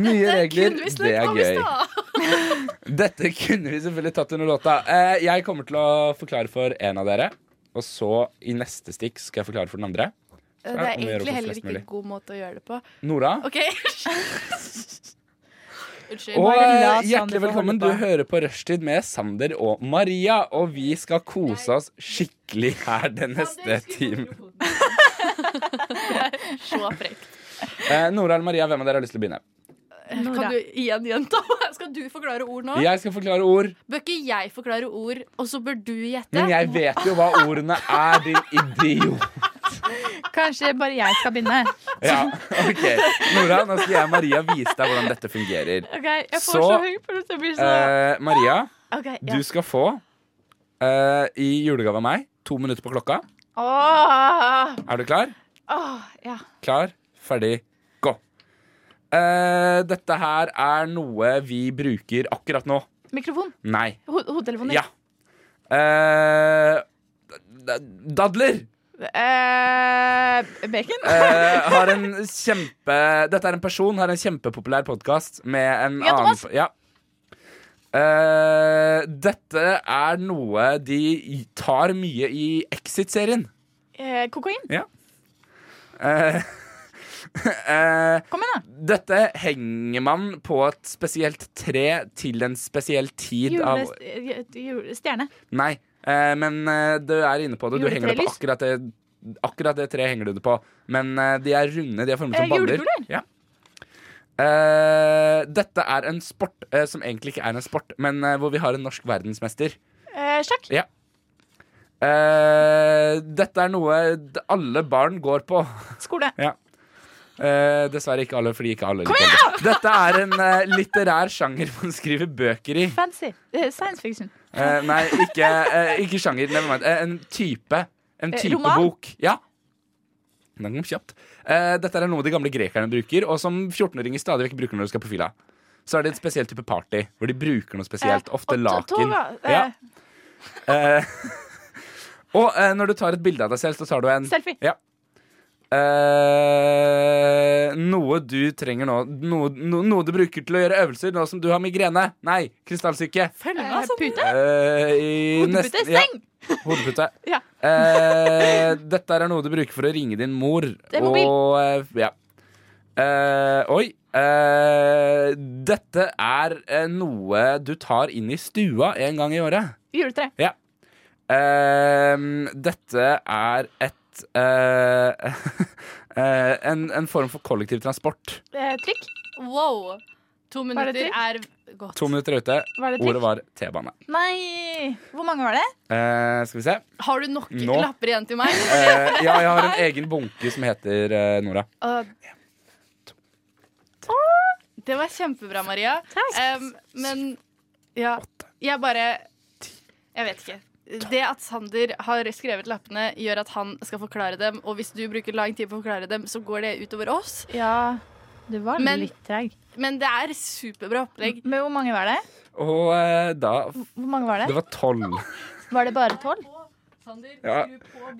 Speaker 3: nye regler.
Speaker 6: Kunne vi
Speaker 3: Det
Speaker 6: snakket
Speaker 3: er
Speaker 6: om i
Speaker 3: gøy.
Speaker 6: stad?
Speaker 3: Dette kunne vi selvfølgelig tatt under låta. Eh, jeg kommer til å forklare for en av dere. Og så i neste stikk skal jeg forklare for den andre.
Speaker 6: Det
Speaker 3: om å gjøre
Speaker 6: er egentlig
Speaker 3: for
Speaker 6: heller
Speaker 3: flest
Speaker 6: ikke
Speaker 3: mulig.
Speaker 6: en god måte å gjøre det på.
Speaker 3: Nora.
Speaker 6: OK? *laughs* Unnskyld.
Speaker 3: Og
Speaker 7: Bare la
Speaker 3: eh,
Speaker 7: Sander
Speaker 3: hjertelig
Speaker 7: få
Speaker 3: velkommen. Du
Speaker 7: holde på.
Speaker 3: hører på Rushtid med Sander og Maria. Og vi skal kose oss skikkelig her den neste timen.
Speaker 6: *laughs* Så frekt.
Speaker 3: Eh, Nora eller Maria, hvem av dere har lyst til å begynne?
Speaker 6: Kan du igjen gjenta? Skal du forklare ord nå?
Speaker 3: Jeg skal forklare ord,
Speaker 6: Bør ikke jeg forklare ord, og så bør du gjette?
Speaker 3: men jeg vet jo hva ordene er,
Speaker 7: *laughs*
Speaker 3: din idiot.
Speaker 7: Kanskje bare jeg skal *laughs* begynne.
Speaker 3: Ja, ok Nora, nå skal jeg og Maria vise deg hvordan dette fungerer.
Speaker 7: Ok, Jeg
Speaker 3: får Så, så
Speaker 7: høy puls. Jeg blir
Speaker 3: Eh, Maria,
Speaker 7: OK.
Speaker 3: du skal få eh, i julegave av meg to minutter på klokka.
Speaker 7: Åh,
Speaker 3: Er du klar?
Speaker 7: åh, ja.
Speaker 3: Klar, ferdig, gå. Eh, dette her er noe vi bruker akkurat nå.
Speaker 7: Mikrofon.
Speaker 3: Nei.
Speaker 7: Ho hodetelefoner.
Speaker 3: Ja. Eh, d- d- dadler
Speaker 7: Eh, bacon.
Speaker 6: *laughs*
Speaker 3: eh, har en kjempe Dette er en person, har en kjempepopulær podkast med en
Speaker 7: Ja,
Speaker 3: annen
Speaker 7: Thomas.
Speaker 3: Ja. Eh, dette er noe de tar mye i Exit-serien.
Speaker 7: eh, kokain.
Speaker 3: Ja. Eh, eh,
Speaker 7: Kom igjen, da.
Speaker 3: dette henger man på et spesielt tre til en spesiell tid av
Speaker 7: Jules, eh, jule- stjerne.
Speaker 3: Nei, eh, men eh, du er inne på det. Du henger det på
Speaker 7: Juletrelys?
Speaker 3: akkurat det, akkurat det treet henger du det på. Men eh, de er runde, de er formet
Speaker 7: Eh,
Speaker 3: som baller.
Speaker 7: julekuler?
Speaker 3: Ja. Eh, dette er en sport eh, som egentlig ikke er en sport, men eh, hvor vi har en norsk verdensmester.
Speaker 7: Eh, sjakk.
Speaker 3: Ja. Eh, dette er noe d- alle barn går på.
Speaker 7: Skole.
Speaker 3: Ja. Eh, dessverre ikke alle, fordi ikke alle liker det. Dette er en eh, litterær sjanger man skriver bøker i.
Speaker 7: Fancy. Eh, science fiction.
Speaker 3: Eh, nei, ikke, eh, ikke sjanger. Never mind. Eh, en type. En
Speaker 7: Eh,
Speaker 3: type
Speaker 7: roman?
Speaker 3: bok. Ja. Den kom kjapt. Eh, dette er noe de gamle grekerne bruker, og som 14-åringer stadig vekk bruker når de skal på fylla. Så er det et spesielt type party, hvor de bruker noe spesielt.
Speaker 7: Eh,
Speaker 3: Ofte
Speaker 7: og- og
Speaker 3: laken.
Speaker 7: toga. Eh,
Speaker 3: Ja. Eh, *laughs* og eh, når du tar et bilde av deg selv, så tar du en
Speaker 7: Selfie.
Speaker 3: Ja. Eh, noe du trenger nå noe, no, noe du bruker til å gjøre øvelser nå som du har migrene. Nei, krystallsyke.
Speaker 7: Følg med, altså. Pute.
Speaker 3: Eh, i
Speaker 7: Hodepute.
Speaker 3: neste- ja,
Speaker 7: Seng.
Speaker 3: hodepute.
Speaker 7: *laughs* Ja.
Speaker 3: Eh, dette er noe du bruker for å ringe din mor.
Speaker 7: er mobil.
Speaker 3: Og, eh, ja. Eh, oi. Eh, dette er eh, noe du tar inn i stua en gang i året.
Speaker 7: Juletre.
Speaker 3: Ja. Ehm, dette er et eh, *laughs* eh, en, en form for kollektivtransport.
Speaker 7: Eh, trikk.
Speaker 6: Wow. To
Speaker 7: Var det
Speaker 6: minutter er godt.
Speaker 3: To minutter er ute.
Speaker 7: Var det
Speaker 3: Ordet
Speaker 7: trikk?
Speaker 3: var T-bane.
Speaker 7: Nei. Hvor mange var det?
Speaker 3: Eh, skal vi se.
Speaker 6: Har du nok
Speaker 3: Nå.
Speaker 6: lapper igjen til meg?
Speaker 3: Eh, ja, jeg har en egen bunke som heter eh, Nora.
Speaker 6: Uh, det var kjempebra, Maria. Um, men ja, jeg bare Jeg vet ikke. Det at Sander har skrevet lappene, gjør at han skal forklare dem. Og hvis du bruker lang tid på å forklare dem, så går det utover oss.
Speaker 7: Ja, du var
Speaker 6: Men-
Speaker 7: litt treig.
Speaker 6: Men det er superbra opplegg.
Speaker 7: Men hvor mange var det?
Speaker 3: Og eh, da
Speaker 7: Hvor mange var
Speaker 3: Det
Speaker 7: det?
Speaker 3: var tolv.
Speaker 7: Var det bare tolv?
Speaker 3: Ja.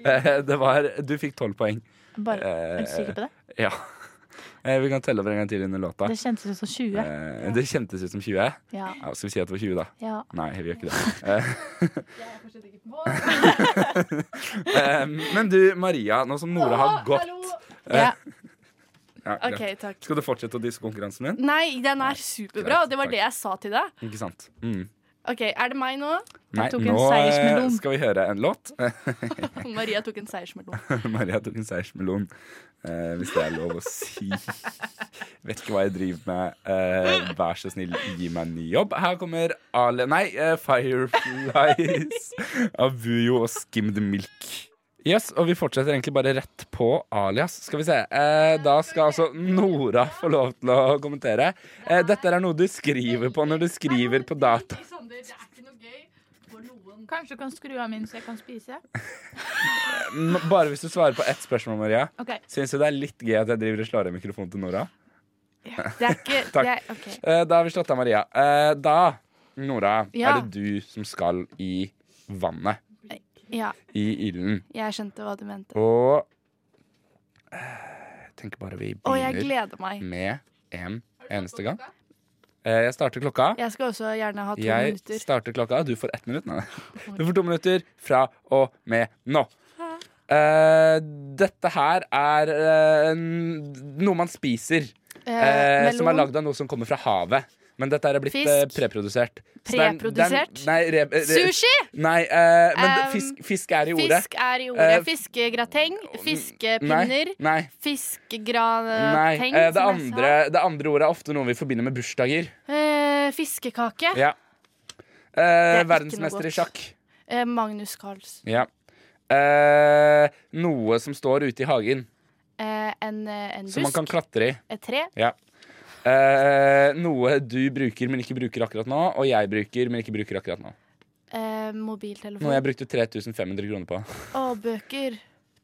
Speaker 3: Eh, det var Du fikk tolv poeng.
Speaker 7: Bare,
Speaker 3: Eh,
Speaker 7: er du sikker på det?
Speaker 3: Ja. Eh, vi kan telle over en gang til under låta.
Speaker 7: Det kjentes ut som 20.
Speaker 3: Eh, det kjentes ut som 20. Ja,
Speaker 7: Ja.
Speaker 3: skal vi si at det var 20, da?
Speaker 7: ja.
Speaker 3: Nei, vi gjør
Speaker 7: *laughs*
Speaker 3: ikke det. *laughs* Eh, Men du, Maria, nå som Nora har gått eh,
Speaker 7: ja.
Speaker 3: ja,
Speaker 6: OK,
Speaker 3: greit.
Speaker 6: takk.
Speaker 3: Skal du fortsette å disse konkurransen min?
Speaker 6: Nei, den er superbra, og det var det jeg sa til deg.
Speaker 3: Ikke sant? Mm.
Speaker 6: OK, er det meg nå?
Speaker 3: Nei,
Speaker 7: tok en
Speaker 3: nå eh,
Speaker 7: seiersmelon.
Speaker 3: skal vi høre en låt.
Speaker 6: Maria tok en seiersmelon.
Speaker 3: *laughs* Maria tok en seiersmelon, eh, hvis det er lov å si. Vet ikke hva jeg driver med. Eh, vær så snill, gi meg en ny jobb. Her kommer Ale... Nei, eh, Fireflies av Vujo og Skimmed Milk. Yes, og vi fortsetter egentlig bare rett på alias. Skal vi se. Eh, da skal altså Nora få lov til å kommentere. Eh, dette er noe du skriver på når du skriver på data.
Speaker 7: Kanskje du kan skru av min så jeg kan spise?
Speaker 3: M- Bare hvis du svarer på ett spørsmål, Maria.
Speaker 7: Ok,
Speaker 3: Syns du det er litt gøy at jeg driver og slår i mikrofonen til Nora?
Speaker 6: Det er ikke
Speaker 3: *laughs* Takk.
Speaker 6: Det er, ok.
Speaker 3: Eh, Da har vi slått av Maria. Eh, Da, Nora,
Speaker 6: Ja.
Speaker 3: er det du som skal i vannet.
Speaker 6: Ja,
Speaker 3: I ilden.
Speaker 6: jeg skjønte hva du mente.
Speaker 3: Og eh, Jeg tenker bare vi
Speaker 6: Og jeg
Speaker 3: begynner
Speaker 6: gleder meg.
Speaker 3: med en eneste gang. Eh, Jeg starter klokka.
Speaker 6: Jeg skal også gjerne ha to
Speaker 3: Jeg
Speaker 6: minutter.
Speaker 3: starter klokka. Du får ett minutt.
Speaker 6: *laughs*
Speaker 3: Nei. Du får to minutter fra og med nå. Eh, dette her er eh, n- noe man spiser. eh, som er lagd av noe som kommer fra havet. Men dette her er blitt
Speaker 6: Fisk.
Speaker 3: eh, preprodusert. Så det er- det er-
Speaker 6: Preprodusert?
Speaker 3: Nei, re, re,
Speaker 6: Sushi!
Speaker 3: Nei, eh, men det-
Speaker 6: Um,
Speaker 3: fisk, fisk er i ordet.
Speaker 6: Fisk er i
Speaker 3: Eh, mm,
Speaker 6: ordet. Fiskegrateng. Fiskepinner.
Speaker 3: Nei, nei, nei.
Speaker 6: Fiskegrateng.
Speaker 3: Eh, det,
Speaker 6: som jeg sa.
Speaker 3: andre, det andre ordet er ofte noe vi forbinder med
Speaker 6: *laughs*
Speaker 3: bursdager.
Speaker 6: Eh, fiskekake.
Speaker 3: Ja. Eh,
Speaker 6: Det er ikke noe
Speaker 3: verdensmester i
Speaker 6: godt.
Speaker 3: sjakk.
Speaker 6: Eh, Magnus Carlsen.
Speaker 3: Ja. Eh, noe som står ute i hagen,
Speaker 6: Eh, en, eh, en
Speaker 3: som man
Speaker 6: busk.
Speaker 3: kan klatre i.
Speaker 6: Et tre.
Speaker 3: Ja. Eh, noe du bruker, men ikke bruker akkurat nå, og jeg bruker, men ikke bruker akkurat nå.
Speaker 6: Eh,
Speaker 3: Noe
Speaker 6: mobiltelefon.
Speaker 3: jeg brukte 3500 kroner på.
Speaker 6: Og bøker.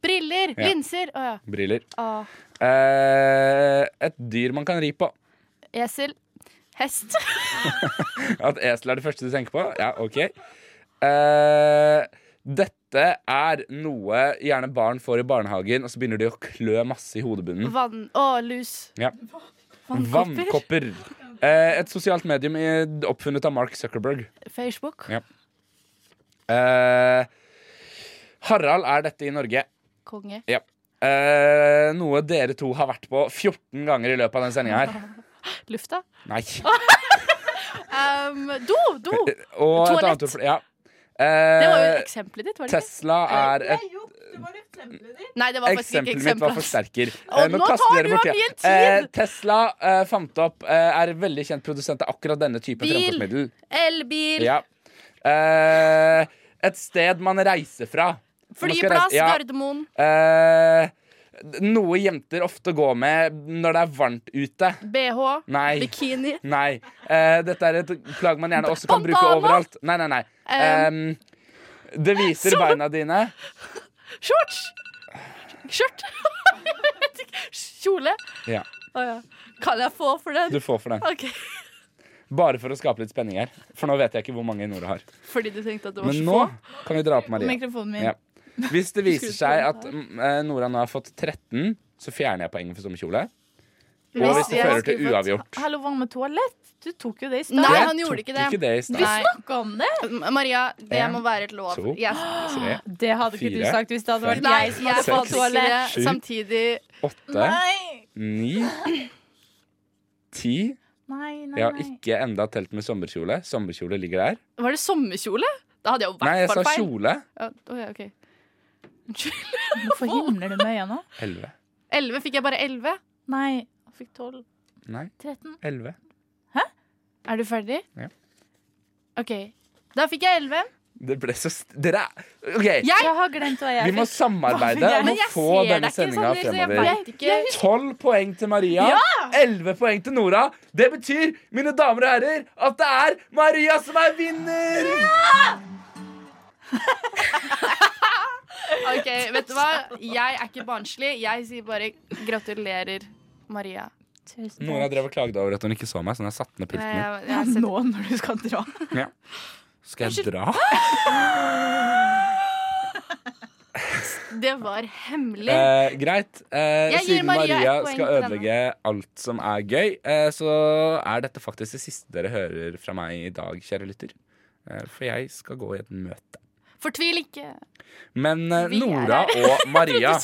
Speaker 6: Briller,
Speaker 3: Ja.
Speaker 6: linser Å ja.
Speaker 3: Briller.
Speaker 6: Å,
Speaker 3: Eh, et dyr man kan ri på.
Speaker 6: esel. Hest.
Speaker 3: At esel er det første du tenker på? Ja, OK. Eh, dette er noe gjerne barn får i barnehagen, og så begynner de å klø masse i hodebunnen.
Speaker 6: Vann. Å, lus.
Speaker 3: Mm. Ja.
Speaker 6: Vannkopper.
Speaker 3: Vannkopper. Eh, et sosialt medium i, oppfunnet av Mark Zuckerberg.
Speaker 6: Facebook.
Speaker 3: Ja. Eh, Harald er dette i Norge.
Speaker 6: Konge.
Speaker 3: Ja. Eh, noe dere to har vært på 14 ganger i løpet av den sendinga her.
Speaker 6: Lufta.
Speaker 3: Nei.
Speaker 6: Um, do! Do!
Speaker 3: Og et annet
Speaker 6: Toalett.
Speaker 3: ord for- Ja.
Speaker 6: Det var jo
Speaker 3: Eh,
Speaker 6: eksempelet ditt, var det ikke?
Speaker 3: Tesla er et
Speaker 6: Nei, det var faktisk ikke
Speaker 3: Eksempelet mitt var
Speaker 6: eksempelet. *laughs*
Speaker 3: forsterker.
Speaker 6: Å,
Speaker 3: Eh,
Speaker 6: nå
Speaker 3: kaster
Speaker 6: tar
Speaker 3: dere
Speaker 6: du
Speaker 3: bort
Speaker 6: av
Speaker 3: det.
Speaker 6: min tid!
Speaker 3: Eh, Tesla eh, fant opp eh, er veldig kjent produsent av akkurat denne typen
Speaker 6: Bil.
Speaker 3: fremkomstmiddel.
Speaker 6: Elbil.
Speaker 3: Ja. Eh, et sted man reiser fra. Man skal
Speaker 6: Flyplass.
Speaker 3: reise- ja.
Speaker 6: Gardermoen.
Speaker 3: Eh, noe jenter ofte går med når det er varmt ute.
Speaker 6: BH.
Speaker 3: Nei.
Speaker 6: Bikini.
Speaker 3: Nei. Eh, dette er et plagg man gjerne også kan
Speaker 6: Bandana?
Speaker 3: bruke overalt. Nei, nei, nei.
Speaker 6: Um,
Speaker 3: Eh, det viser
Speaker 6: *laughs* så-
Speaker 3: beina dine.
Speaker 6: Shorts! Skjørt! *laughs* Jeg vet ikke. Kjole.
Speaker 3: Ja,
Speaker 6: Å ja. Kan jeg få for den?
Speaker 3: du får for den.
Speaker 6: OK.
Speaker 3: Bare for å skape litt spenning her. For nå vet jeg ikke hvor mange Nora har.
Speaker 6: Fordi du tenkte at det
Speaker 3: Men
Speaker 6: var så
Speaker 3: nå
Speaker 6: få?
Speaker 3: kan vi dra opp Maria.
Speaker 7: Mikrofonen min.
Speaker 3: Hvis
Speaker 6: *laughs*
Speaker 3: det viser
Speaker 7: Skru på
Speaker 3: seg
Speaker 7: den
Speaker 3: at mm, eh, Nora nå har fått 13, så fjerner jeg poenget for sommerkjole. Og
Speaker 7: Hvis
Speaker 3: hvis det
Speaker 7: jeg
Speaker 3: fører til
Speaker 7: skulle fått-
Speaker 3: uavgjort.
Speaker 7: Hallo, hva med toalett? Du tok jo det i stad.
Speaker 6: Nei,
Speaker 3: Jeg
Speaker 6: han gjorde
Speaker 3: tok
Speaker 6: ikke det.
Speaker 3: ikke det i stad.
Speaker 7: Vi
Speaker 6: Nei.
Speaker 7: snakka om det!
Speaker 6: M- Maria, det
Speaker 3: En,
Speaker 6: må være et lov.
Speaker 3: to, *gasps*
Speaker 6: Jeg-
Speaker 3: Tre,
Speaker 7: Det hadde ikke du
Speaker 3: Fire,
Speaker 7: sagt hvis det hadde vært
Speaker 6: Nei,
Speaker 7: jeg som
Speaker 6: jeg
Speaker 7: hadde
Speaker 3: fem,
Speaker 7: fått
Speaker 3: seks,
Speaker 7: toalett.
Speaker 6: valgte
Speaker 3: sju.
Speaker 6: samtidig
Speaker 3: åtte,
Speaker 7: Nei!
Speaker 3: ni, ti.
Speaker 7: Nei, nei,
Speaker 3: Jeg har
Speaker 7: nei.
Speaker 3: ikke enda telt med sommerkjole. Sommerkjole ligger der.
Speaker 6: Var det sommerkjole? Da hadde jeg jo i
Speaker 3: Nei,
Speaker 6: hvert
Speaker 3: jeg sa
Speaker 6: fall feil.
Speaker 3: kjole.
Speaker 6: Ja, å ja, ok. *laughs*
Speaker 7: Hvorfor himler du med øya nå?
Speaker 3: Elleve.
Speaker 6: 11 fikk jeg bare 11.
Speaker 7: Nei, jeg fikk 12.
Speaker 3: Nei,
Speaker 7: 13.
Speaker 3: elleve.
Speaker 6: Er du ferdig?
Speaker 3: Ja.
Speaker 6: OK. Da fikk jeg 11.
Speaker 3: Det ble så st Dere er OK,
Speaker 6: Jeg,
Speaker 7: Jeg har glemt hva jeg
Speaker 3: vi må
Speaker 7: fikk.
Speaker 3: samarbeide om å
Speaker 6: men jeg
Speaker 3: få
Speaker 6: ser deg
Speaker 3: denne
Speaker 6: ikke,
Speaker 3: sendinga
Speaker 6: Sander, så jeg
Speaker 3: fremover.
Speaker 6: vet ikke.
Speaker 3: 12 poeng til Maria, 11 poeng til Nora. Det betyr, mine damer og herrer, at det er Maria som er vinner!
Speaker 6: Ok, vet du hva? Jeg er ikke barnslig. Jeg sier bare gratulerer, Maria.
Speaker 7: Tusen
Speaker 3: Nora
Speaker 7: takk.
Speaker 3: drev og klagde over at hun ikke så meg, så hun har satt ned pulten min.
Speaker 6: Eh, Jeg, jeg har sett
Speaker 7: Nå når du skal dra.
Speaker 3: Skal jeg dra?
Speaker 6: Det var hemmelig.
Speaker 3: Eh, greit. Eh,
Speaker 6: Jeg gir
Speaker 3: siden
Speaker 6: Maria
Speaker 3: Maria,
Speaker 6: ett poeng
Speaker 3: skal
Speaker 6: til denne.
Speaker 3: ødelegge alt som er gøy, eh, så er dette faktisk det siste dere hører fra meg i dag, kjære lytter. Eh, for jeg skal gå i et møte.
Speaker 6: Fortvil ikke.
Speaker 3: Men eh,
Speaker 6: Vi er
Speaker 3: Nora
Speaker 6: *laughs*
Speaker 3: og Maria,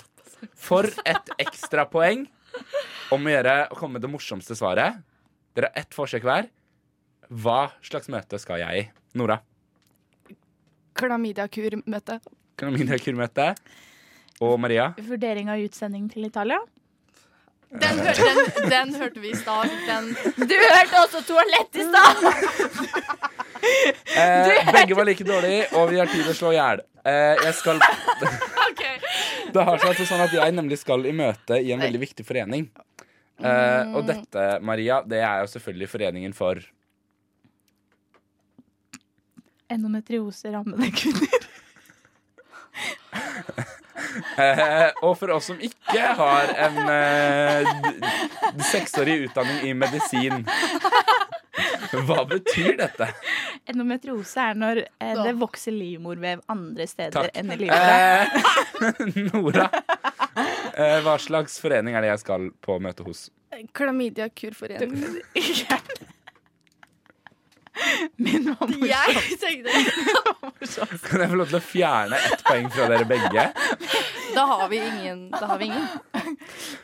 Speaker 3: for et ekstrapoeng om å gjøre å komme med det morsomste svaret. Dere har ett forsøk hver. Hva slags møte skal jeg i? Nora,
Speaker 6: Klamydiakur-møte.
Speaker 3: økonomidirektormøte. Og
Speaker 6: *laughs*
Speaker 3: Maria,
Speaker 7: Vurdering av utsending til Italia.
Speaker 6: Den,
Speaker 3: Eh.
Speaker 6: hør- den, den hørte vi i stad. Den
Speaker 7: Du hørte også toalett i stad!
Speaker 3: eh, begge var like dårlige, og vi har tid til å slå i hjel. Eh, jeg
Speaker 6: *laughs*
Speaker 3: skal *laughs* Det har seg altså sånn at jeg nemlig skal i møte i en veldig viktig forening. Eh,
Speaker 6: Mm.
Speaker 3: og dette, Maria, det er jo selvfølgelig foreningen for
Speaker 7: Endometriose rammede kvinner.
Speaker 3: Eh, og for oss som ikke har en eh, d- seksårig utdanning i medisin Hva betyr dette?
Speaker 7: Endometriose er når eh, det vokser livmorvev andre steder
Speaker 3: Takk.
Speaker 7: enn i livet.
Speaker 3: Eh, Nora, eh, hva slags forening er det jeg skal på møte hos?
Speaker 6: Klamydiakur-forening.
Speaker 3: Eh.
Speaker 7: Min mamma
Speaker 6: Jeg tenkte
Speaker 3: Kan jeg få lov til å fjerne ett poeng fra dere begge?
Speaker 6: Da har vi ingen. Da har vi ingen.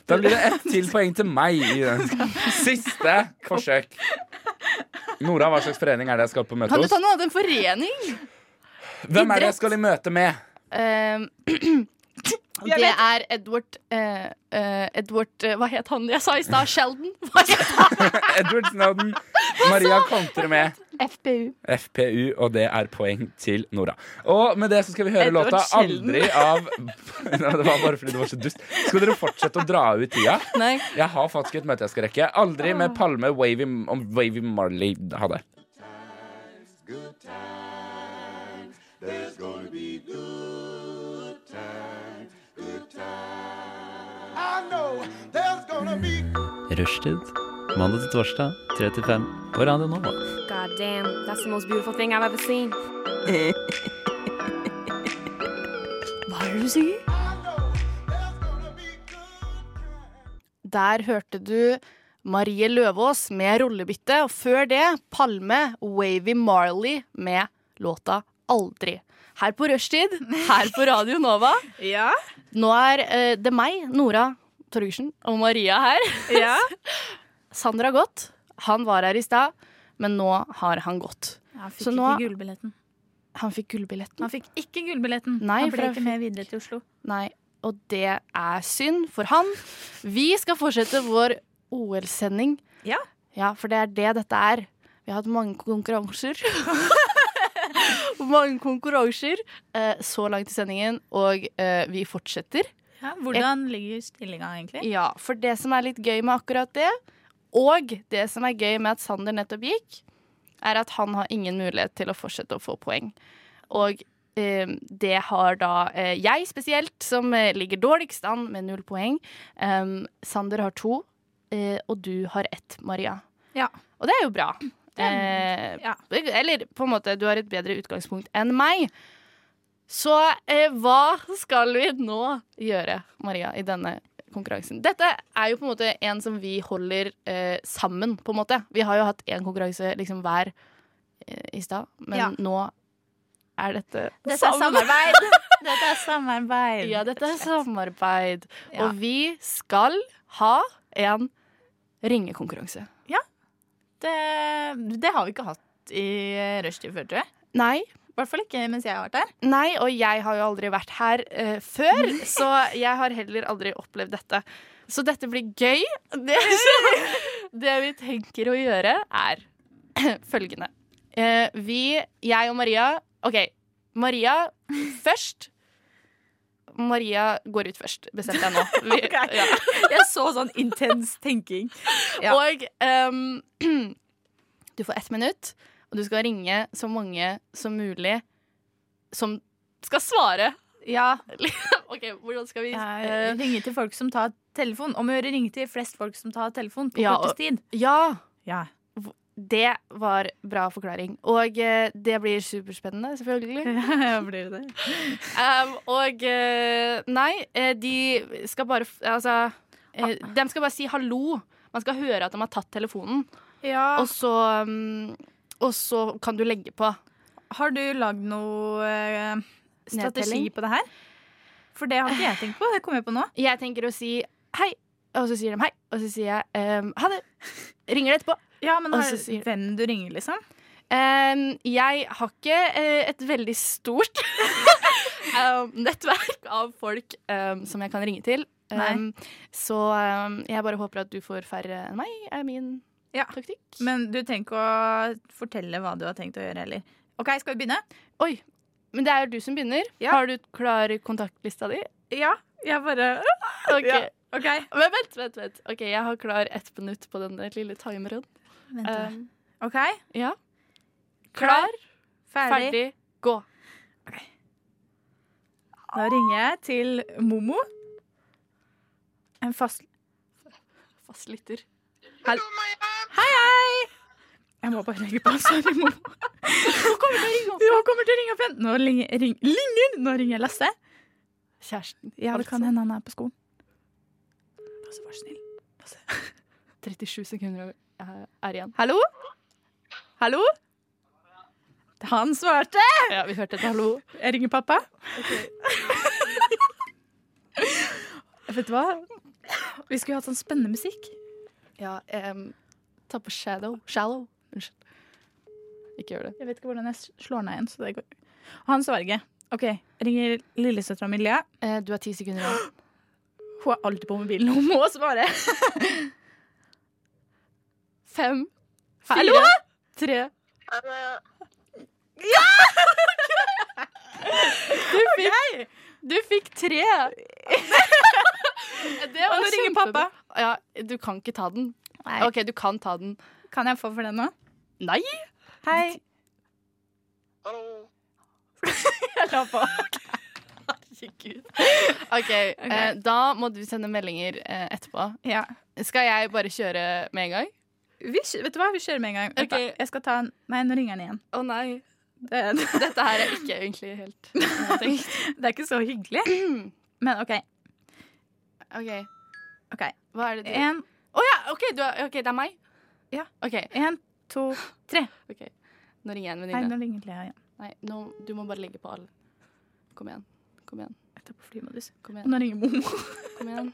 Speaker 3: Da blir det ett til poeng til meg. I den. Siste forsøk. Nora, hva slags forening er det jeg skal på møte
Speaker 6: Kan du
Speaker 3: hos?
Speaker 6: ta noe annet enn forening?
Speaker 3: Hvem er det jeg skal i møte med?
Speaker 6: Ehm, *clears throat* det er Edward eh, eh, Edward eh, Hva het han jeg sa i stad? Sheldon? *laughs* Hva het han?
Speaker 3: Edward Snowden. Maria kontrer med.
Speaker 7: FPU.
Speaker 3: FPU, og det er poeng til Nora. Og med det så skal vi høre
Speaker 7: Edward
Speaker 3: låta
Speaker 7: Sheldon.
Speaker 3: 'Aldri' av *laughs* Nei, Det var bare fordi du var så dust. Skal dere fortsette å dra ut tida?
Speaker 6: Nei.
Speaker 3: Jeg har faktisk et møte jeg skal rekke. 'Aldri' med Palme Wavy, om Wavy Marley. Ha det.
Speaker 11: Rushtid. Mandag til torsdag, 3 til 5 på Radio Nova.
Speaker 12: God damn, that's the most beautiful thing I've ever seen.
Speaker 6: Hva er det du sier? Der hørte du Marie Løvaas med rollebytte, og før det Palme Wavy Marley med låta Aldri. Her på rushtid, her på Radio Nova.
Speaker 2: *laughs* Ja.
Speaker 6: Nå er eh, det meg, Nora Torgersen, og Maria her. *laughs*
Speaker 2: Ja.
Speaker 6: Sander har gått. Han var her i stad, men nå har han gått.
Speaker 7: Han fikk
Speaker 6: Så nå-
Speaker 7: ikke gullbilletten.
Speaker 6: Han fikk gullbilletten.
Speaker 7: Han fikk ikke gullbilletten.
Speaker 6: Nei,
Speaker 7: han
Speaker 6: for
Speaker 7: ble
Speaker 6: jeg
Speaker 7: ikke med videre til Oslo.
Speaker 6: Nei, og det er synd for han. Vi skal fortsette vår OL-sending.
Speaker 2: Ja.
Speaker 6: for det er det dette er. Vi har hatt mange konkurranser. *laughs* mange konkurranser eh, så langt i sendingen, og eh, vi fortsetter.
Speaker 7: Ja, hvordan ligger stillinga egentlig?
Speaker 6: Ja, for det som er litt gøy med akkurat det, og det som er gøy med at Sander nettopp gikk, er at han har ingen mulighet til å fortsette å få poeng. Og eh, det har da eh, jeg spesielt, som eh, ligger dårligst an med null poeng. Em, Sander har to, eh, og du har ett, Maria.
Speaker 7: Ja.
Speaker 6: Og det er jo bra.
Speaker 7: er-
Speaker 6: Eh, Eller på en måte, du har et bedre utgangspunkt enn meg. Så eh, hva skal vi nå gjøre, Maria, i denne konkurransen? Dette er jo på en måte en som vi holder eh, sammen, på en måte. Vi har jo hatt én konkurranse liksom hver eh, i stad, men
Speaker 7: Ja.
Speaker 6: nå er dette
Speaker 7: Dette er
Speaker 6: sammen.
Speaker 7: samarbeid. *laughs* Dette er samarbeid.
Speaker 6: Ja, dette er samarbeid.
Speaker 7: Ja.
Speaker 6: Og vi skal ha en ringekonkurranse.
Speaker 7: Ja. Det, det har vi ikke hatt i eh, rushtid før, tror jeg.
Speaker 6: Nei.
Speaker 7: I hvert fall ikke mens jeg har vært her.
Speaker 6: Nei, og jeg har jo aldri vært her eh, før, så jeg har heller aldri opplevd dette. Så dette blir gøy. Det, det vi tenker å gjøre, er *clears throat* følgende. Eh, vi, jeg og Maria OK, Maria først. Maria går ut først, bestemte jeg nå. Vi, ja.
Speaker 7: Jeg så sånn intens tenking.
Speaker 6: Og ehm, *clears throat* du får ett minutt, og du skal ringe så mange som mulig som skal svare.
Speaker 7: Ja.
Speaker 6: OK, hvordan skal vi
Speaker 7: Eh, ringe til folk som tar telefon. Om å gjøre ringe til flest folk som tar telefon på
Speaker 6: Ja, og-
Speaker 7: kortest tid.
Speaker 6: Ja.
Speaker 7: Ja.
Speaker 6: Det var bra forklaring. Og eh, det blir superspennende, selvfølgelig.
Speaker 7: *laughs* *laughs* Ja, blir det
Speaker 6: Um, og eh, nei, eh, de skal bare f- Altså, eh, de skal bare si hallo. Man skal høre at de har tatt telefonen.
Speaker 7: Ja.
Speaker 6: Og så, um, og så kan du legge på.
Speaker 7: Har du lagd noe eh, strategi
Speaker 6: Nedtelling?
Speaker 7: på det her? For det har ikke jeg tenkt på. Det kom jeg på nå.
Speaker 6: Jeg tenker å si hei, og så sier de hei. Og så sier jeg ehm, ha det. Ringer det etterpå.
Speaker 7: Ja, men
Speaker 6: Og
Speaker 7: har,
Speaker 6: så sier-
Speaker 7: hvem du ringer, liksom?
Speaker 6: Ehm, jeg har ikke eh, et veldig stort *laughs* ehm, nettverk av folk ehm, som jeg kan ringe til. Ehm, så ehm, jeg bare håper at du får færre enn meg, er min taktikk.
Speaker 7: Men du trenger ikke å fortelle hva du har tenkt å gjøre heller. OK, skal vi begynne?
Speaker 6: Oi, men det er jo du som begynner. Har du klar kontaktlista di?
Speaker 7: Ja. Jeg bare øh.
Speaker 6: Ok.
Speaker 7: Ja, ok.
Speaker 6: Men vent, vent, vent. Ok, jeg har klar ett minutt på den lille timeren.
Speaker 7: Vent da.
Speaker 6: Ehm,
Speaker 7: Eh, OK?
Speaker 6: ja. Klar, ferdig,
Speaker 7: Ferdig.
Speaker 6: gå.
Speaker 7: Da ringer jeg til Momo. En fast...
Speaker 6: Fastlytter.
Speaker 7: Hei, hei! Jeg må bare legge på. Sorry, Momo. Hun kommer til å ringe opp, igjen. Nå ringer, ring, ringer. Nå ringer jeg Lasse.
Speaker 6: Kjæresten.
Speaker 7: Ja, det kan
Speaker 6: altså.
Speaker 7: hende han er på skolen. Lasse, vær så snill.
Speaker 6: 37 sekunder eh, er igjen.
Speaker 7: Hallo? Hallo? Han svarte!
Speaker 6: Ja, vi hørte et hallo.
Speaker 7: Jeg ringer pappa. *laughs* Vet du hva? Vi skulle hatt sånn spennende musikk.
Speaker 6: Ja, em, ta på shadow. Shallow. Unnskyld. Ikke gjør det.
Speaker 7: Jeg vet ikke hvordan jeg slår ned igjen. Så det går. Han svarer ikke. OK, ringer lillesøstera mi Lea.
Speaker 6: Eh, du har ti sekunder igjen.
Speaker 7: *gasps* Hun er alltid på mobilen. Hun må svare.
Speaker 6: Fem,
Speaker 7: Hallo?
Speaker 6: fire, tre
Speaker 7: Ja!
Speaker 6: *laughs* Du fikk, du fikk tre. Det
Speaker 7: Og nå ringer pappa.
Speaker 6: Ja, du kan ikke ta den. OK, du kan ta den.
Speaker 7: Kan jeg få for den nå?
Speaker 6: Nei!
Speaker 7: Hei. *laughs* Jeg la på.
Speaker 6: *laughs* Herregud. OK, eh, da må du sende meldinger eh, etterpå.
Speaker 7: Ja.
Speaker 6: Skal jeg bare kjøre med en gang?
Speaker 7: Vi, kjø- vet du hva, vi kjører med en gang. Vent da, Jeg skal ta en Nei, nå ringer den igjen. *laughs*
Speaker 6: Å nei. Dette her er ikke egentlig *laughs* helt
Speaker 7: Det er ikke så hyggelig.
Speaker 6: *clears throat*
Speaker 7: Men OK.
Speaker 6: OK.
Speaker 7: ok
Speaker 6: Hva er det du
Speaker 7: En-
Speaker 6: Å ja, OK, du er, ok, det er meg?
Speaker 7: Ja.
Speaker 6: OK.
Speaker 7: En, to, tre.
Speaker 6: Ok. Nå ringer jeg en
Speaker 7: Nei, nå
Speaker 6: venninne.
Speaker 7: ringer Lea igjen.
Speaker 6: Nei, nå, du må bare legge på all. Kom igjen. Kom igjen.
Speaker 7: Jeg tar på flymodus.
Speaker 6: Kom
Speaker 7: Og nå
Speaker 6: igjen.
Speaker 7: ringer mormor. *laughs*
Speaker 6: Kom igjen.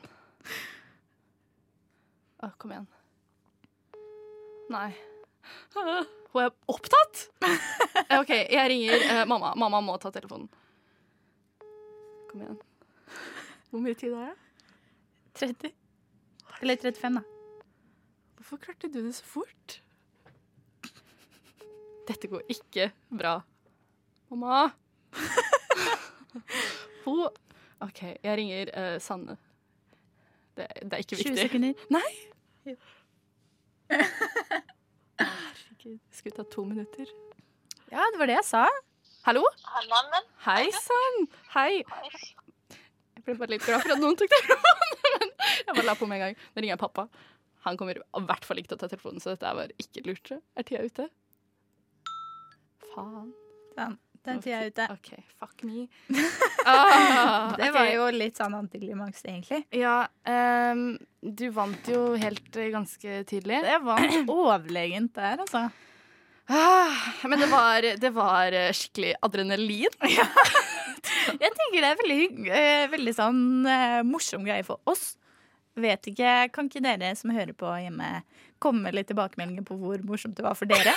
Speaker 6: Å, kom igjen. Nei. Hun er opptatt! Eh, OK, jeg ringer eh, mamma. Mamma må ta telefonen. Kom igjen. Hvor mye tid har jeg?
Speaker 7: 30. Eller 35, da.
Speaker 6: Hvorfor klarte du det så fort? Dette går ikke bra. Mamma! Hun OK, jeg ringer eh, Sanne. Det, det er ikke
Speaker 7: 20
Speaker 6: viktig.
Speaker 7: sekunder.
Speaker 6: Nei!
Speaker 7: Jo.
Speaker 6: Herregud, det skulle ta to minutter.
Speaker 7: Ja, det var det jeg sa.
Speaker 6: Hallo?
Speaker 13: Hallannen.
Speaker 6: Hei sann! Hei. Jeg ble bare litt glad for at noen tok telefonen, *laughs* men jeg bare la på med en gang. Nå ringer jeg pappa. Han kommer i hvert fall ikke til å ta telefonen, så dette er bare ikke lurt. tror jeg. Er tida ute? Faen.
Speaker 7: Sånn. Den tida er ute.
Speaker 6: OK, fuck *laughs* me. Ah,
Speaker 7: det var
Speaker 6: ok.
Speaker 7: jo litt sånn antiklimaks, egentlig.
Speaker 6: Ja, ehm, du vant jo helt eh, ganske tidlig.
Speaker 7: Det var *clears throat* overlegent der, altså.
Speaker 6: Ah, Men det var, det var eh, skikkelig *laughs* adrenalin.
Speaker 7: Jeg tenker det er veldig, hygg- eh, veldig sånn eh, morsom greie for oss. Vet ikke, Kan ikke dere som hører på hjemme, komme med litt tilbakemeldinger på hvor morsomt det var for dere?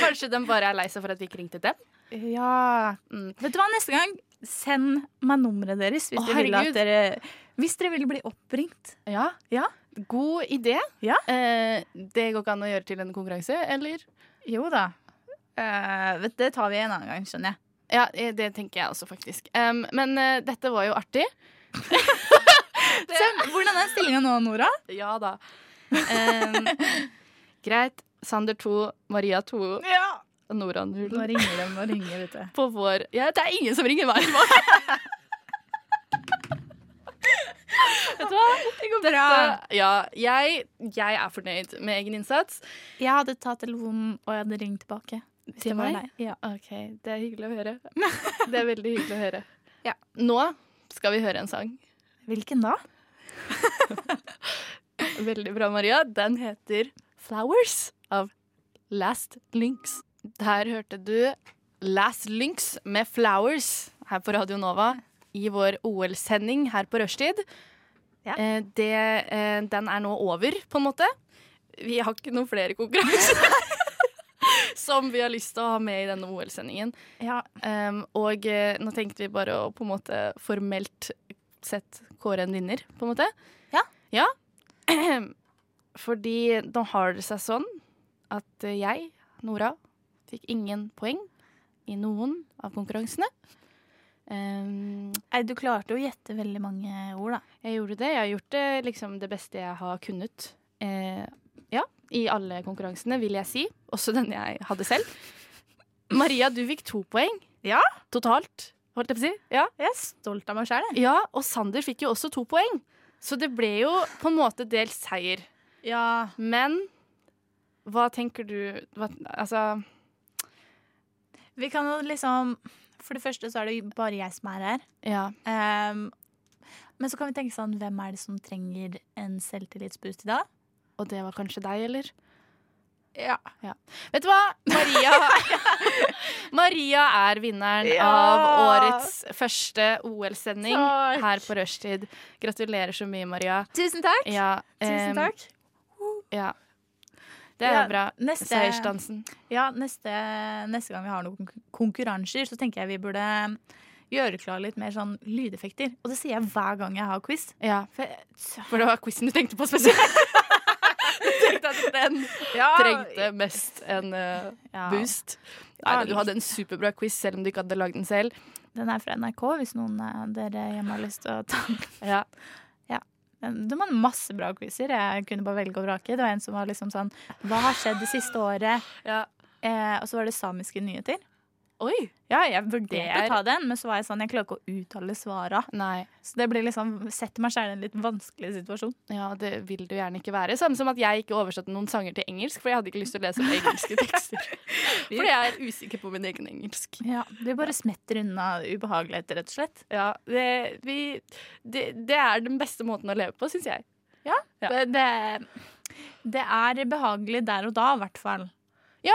Speaker 6: Kanskje de bare er lei seg for at vi ikke ringte dem?
Speaker 7: *laughs* Ja. Mm. Vet du hva, neste gang send meg nummeret deres hvis,
Speaker 6: Å,
Speaker 7: dere, vil at
Speaker 6: herregud.
Speaker 7: dere, hvis dere vil bli oppringt.
Speaker 6: Ja. God idé. Eh, det går ikke an å gjøre til en konkurranse, eller?
Speaker 7: Jo da. Eh, vet, det tar vi en annen gang, *laughs* skjønner jeg.
Speaker 6: Ja, eh, det tenker jeg også, faktisk. Em, men eh, dette var jo artig.
Speaker 7: Så, hvordan er stillinga nå, Nora?
Speaker 6: Ja da.
Speaker 7: *laughs*
Speaker 6: Em, greit. Sander 2, Maria 2,
Speaker 7: Ja.
Speaker 6: Nora 0.
Speaker 7: Nå ringer de og ringer, vet du.
Speaker 6: På vår ja, Det er ingen som ringer meg tilbake!
Speaker 7: *laughs*
Speaker 6: Vet du hva? Det går
Speaker 7: bra.
Speaker 6: Ja, jeg, jeg er fornøyd med egen innsats.
Speaker 7: Jeg hadde tatt telefonen, og jeg hadde ringt tilbake. Hvis
Speaker 6: Til
Speaker 7: det var
Speaker 6: meg?
Speaker 7: deg. Ja.
Speaker 6: OK, det er hyggelig å høre.
Speaker 7: *laughs*
Speaker 6: Det er veldig hyggelig å høre. Nå skal vi høre en sang.
Speaker 7: Hvilken da?
Speaker 6: Veldig bra, Maria. Den heter Flowers av Last Lynx. Der hørte du Last Lynx med Flowers her på Radio Nova i vår OL-sending her på rushtid. Eh, det, eh, den er nå over, på en måte. Vi har ikke noen flere konkurranser som vi har lyst til å ha med i denne OL-sendingen. Um, og eh, nå tenkte vi bare å på en måte formelt sett kåre en vinner, på en måte.
Speaker 7: Ja.
Speaker 6: *clears throat* Fordi nå har det seg sånn at eh, jeg, Nora, fikk ingen poeng i noen av konkurransene. Um,
Speaker 7: Nei, du klarte å gjette veldig mange ord, da.
Speaker 6: Jeg gjorde det. Jeg har gjort det, liksom, det beste jeg har kunnet. Eh, ja, I alle konkurransene, vil jeg si. Også den jeg hadde selv. Maria, du fikk to poeng
Speaker 7: Ja.
Speaker 6: totalt, holdt jeg på å si. Ja.
Speaker 7: Jeg er stolt av meg sjæl,
Speaker 6: Ja, og Sander fikk jo også to poeng. Så det ble jo på en måte delt seier.
Speaker 7: Ja.
Speaker 6: Men hva tenker du hva, Altså
Speaker 7: Vi kan jo liksom For det første så er det bare jeg som er her.
Speaker 6: Ja.
Speaker 7: Ehm, men så kan vi tenke sånn, hvem er det som trenger en selvtillitsboost i dag?
Speaker 6: Og det var kanskje deg, eller?
Speaker 7: Ja.
Speaker 6: Vet du hva? Maria *laughs* Maria er vinneren
Speaker 7: Ja.
Speaker 6: av årets første OL-sending
Speaker 7: Takk.
Speaker 6: her på rushtid. Gratulerer så mye, Maria.
Speaker 7: Tusen takk.
Speaker 6: Ja,
Speaker 7: Tusen
Speaker 6: em,
Speaker 7: takk.
Speaker 6: Ja. Det er
Speaker 7: Ja,
Speaker 6: bra.
Speaker 7: neste-
Speaker 6: Seiersdansen.
Speaker 7: Ja, neste, neste gang vi har noen konk- konkurranser, så tenker jeg vi burde gjøre klar litt mer sånn lydeffekter. Og det sier jeg hver gang jeg har quiz.
Speaker 6: Ja.
Speaker 7: For,
Speaker 6: For det var quizen du tenkte på *laughs* spesielt. Du tenkte at den
Speaker 7: Ja.
Speaker 6: trengte mest en eh,
Speaker 7: Ja.
Speaker 6: boost. Nei, da, du hadde en superbra quiz selv om du ikke hadde lagd den selv.
Speaker 7: Den er fra NRK, hvis noen av dere hjemme har lyst til å ta den.
Speaker 6: Ja.
Speaker 7: Den- De har masse bra quizer. Jeg kunne bare velge og vrake. Det var en som var liksom sånn Hva har skjedd det siste året?
Speaker 6: Ja.
Speaker 7: Eh, og så var det samiske nyheter.
Speaker 6: Oi.
Speaker 7: Ja, jeg vurderte
Speaker 6: Det er-
Speaker 7: å ta den, men så var jeg sånn, jeg klarer ikke å uttale svara. Så det blir liksom, setter meg selv i en litt vanskelig situasjon.
Speaker 6: Ja, det vil du gjerne ikke være. Samme som at jeg ikke oversatte noen sanger til engelsk, for jeg hadde ikke lyst til å lese opp engelske tekster. *laughs* Fordi jeg er usikker på min egen engelsk.
Speaker 7: Ja, vi bare smetter unna ubehageligheter, rett og slett.
Speaker 6: Ja, det, vi, det, det er den beste måten å leve på, syns jeg.
Speaker 7: Ja,
Speaker 6: eh,
Speaker 7: Det, det, det er behagelig der og da, i hvert fall.
Speaker 6: Ja,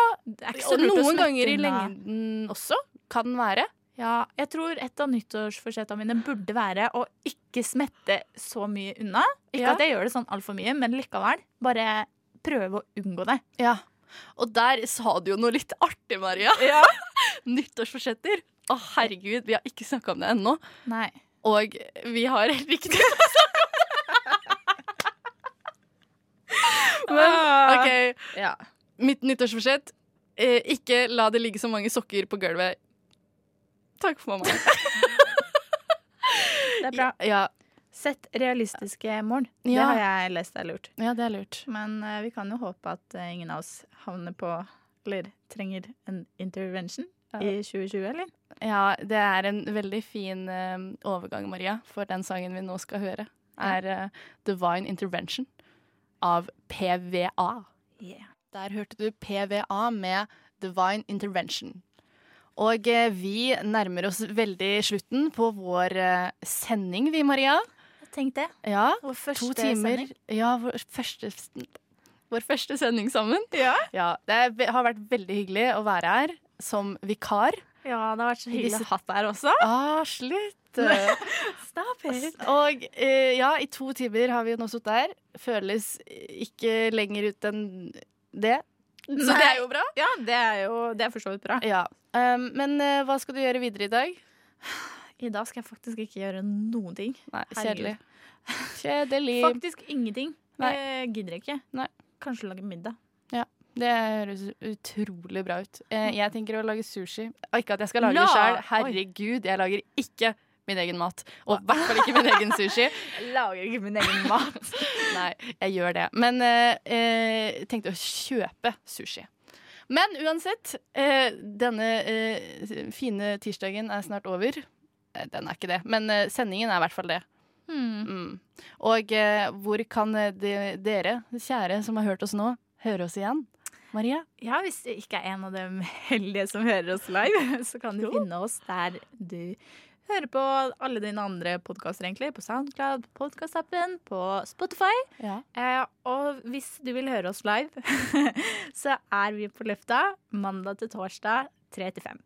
Speaker 7: så
Speaker 6: og
Speaker 7: lurt å
Speaker 6: noen
Speaker 7: smette
Speaker 6: ganger i
Speaker 7: unna.
Speaker 6: lengden også kan den være.
Speaker 7: Ja, jeg tror et av nyttårsforsettene mine burde være å ikke smette så mye unna. Ikke
Speaker 6: Ja.
Speaker 7: at jeg gjør det sånn altfor mye, men likevel. Bare prøve å unngå det.
Speaker 6: Ja. Og der sa du jo noe litt artig, Maria. *laughs* Nyttårsforsetter. Å, herregud, vi har ikke snakka om det ennå.
Speaker 7: Nei.
Speaker 6: Og vi har helt riktig *laughs* å snakke om det. Men OK. Mitt nyttårsforsett eh, ikke la det ligge så mange sokker på gulvet. Takk for meg.
Speaker 7: Det er bra. Sett realistiske mål. Det
Speaker 6: Ja.
Speaker 7: har jeg lest er lurt.
Speaker 6: Ja, det er lurt.
Speaker 7: Men eh, vi kan jo håpe at eh, ingen av oss havner på eller trenger en intervention
Speaker 6: Ja.
Speaker 7: i 2020, eller?
Speaker 6: Ja, det er en veldig fin eh, overgang, Maria, for den sangen vi nå skal høre, er eh, Divine Intervention av PVA. Der hørte du PVA med Divine Intervention. Og eh, vi nærmer oss veldig slutten på vår eh, sending, vi, Maria.
Speaker 7: Tenk det.
Speaker 6: Ja,
Speaker 7: Vår første
Speaker 6: to timer.
Speaker 7: sending.
Speaker 6: Ja, vår første, vår første sending sammen.
Speaker 7: Ja.
Speaker 6: Det er ve- har vært veldig hyggelig å være her som vikar.
Speaker 7: Ja, det har vært så
Speaker 6: I
Speaker 7: hyggelig
Speaker 6: disse-
Speaker 7: å ha deg her også.
Speaker 6: Ah, slutt!
Speaker 7: Stop it.
Speaker 6: *laughs* Og eh, ja, i to timer har vi jo nå sittet her. Føles ikke lenger ut enn det. Så det er jo bra.
Speaker 7: Ja, det er jo det er for så vidt bra.
Speaker 6: *laughs* Ja. Um, men eh, hva skal du gjøre videre i dag?
Speaker 7: I dag skal jeg faktisk ikke gjøre noen ting.
Speaker 6: Nei,
Speaker 7: Herregud. *laughs*
Speaker 6: kjedelig. Kjedelig.
Speaker 7: Faktisk ingenting.
Speaker 6: Nei.
Speaker 7: Jeg gidder ikke. Kanskje lage middag.
Speaker 6: Ja, det høres utrolig bra ut. Eh, jeg tenker å lage sushi. Og Ikke at jeg skal lage
Speaker 7: La-
Speaker 6: det sjøl.
Speaker 7: Hm. Oi.
Speaker 6: Herregud, jeg lager ikke min egen mat. Og i hvert fall ikke min egen
Speaker 7: *laughs*
Speaker 6: sushi.
Speaker 7: Jeg lager ikke min egen
Speaker 6: *laughs*
Speaker 7: mat.
Speaker 6: Nei, jeg gjør det. Men eh, eh, tenkte å kjøpe sushi. Men uansett, eh, denne eh, fine tirsdagen er snart over. Eh, Den er ikke det, men eh, sendingen er i hvert fall det. Mm. Og eh, hvor kan eh, de, dere, kjære som har hørt oss nå, høre oss igjen? Maria?
Speaker 7: Ja, hvis du ikke er en av de heldige som hører oss live, *laughs* så kan du finne oss der du hører på alle dine andre podkaster, egentlig. På SoundCloud, på podkastappen, på Spotify. Eh, og hvis du vil høre oss live, *laughs* så er vi på lufta mandag til torsdag 3 til 5.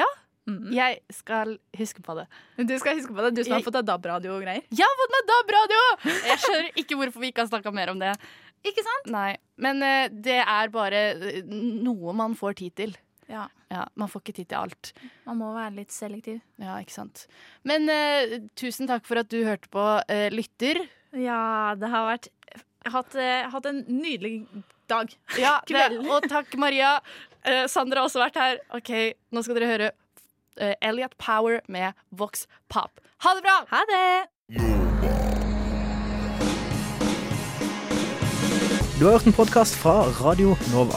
Speaker 6: Ja,
Speaker 7: Mm.
Speaker 6: jeg skal huske på det.
Speaker 7: Du skal huske på det, du som har fått deg DAB-radio og greier.
Speaker 6: Jeg har fått meg DAB-radio! Jeg skjønner ikke hvorfor vi ikke har snakka mer om det.
Speaker 7: Ikke sant?
Speaker 6: Nei, Men eh, det er bare eh, noe man får tid til.
Speaker 7: Ja.
Speaker 6: Ja, Man får ikke tid til alt.
Speaker 7: Man må være litt selektiv.
Speaker 6: Ja, ikke sant. Men eh, tusen takk for at du hørte på eh, Lytter.
Speaker 7: Ja, det har vært jeg har hatt, eh, hatt en nydelig dag.
Speaker 6: *laughs* Ja, det,
Speaker 7: Kveld.
Speaker 6: og takk, Maria. Eh, Sandra har også vært her. Ok, Nå skal dere høre eh, Elliot Power med Vox Pop. Ha det bra!
Speaker 7: Ha det!
Speaker 1: Du har hørt en podkast fra Radio Nova.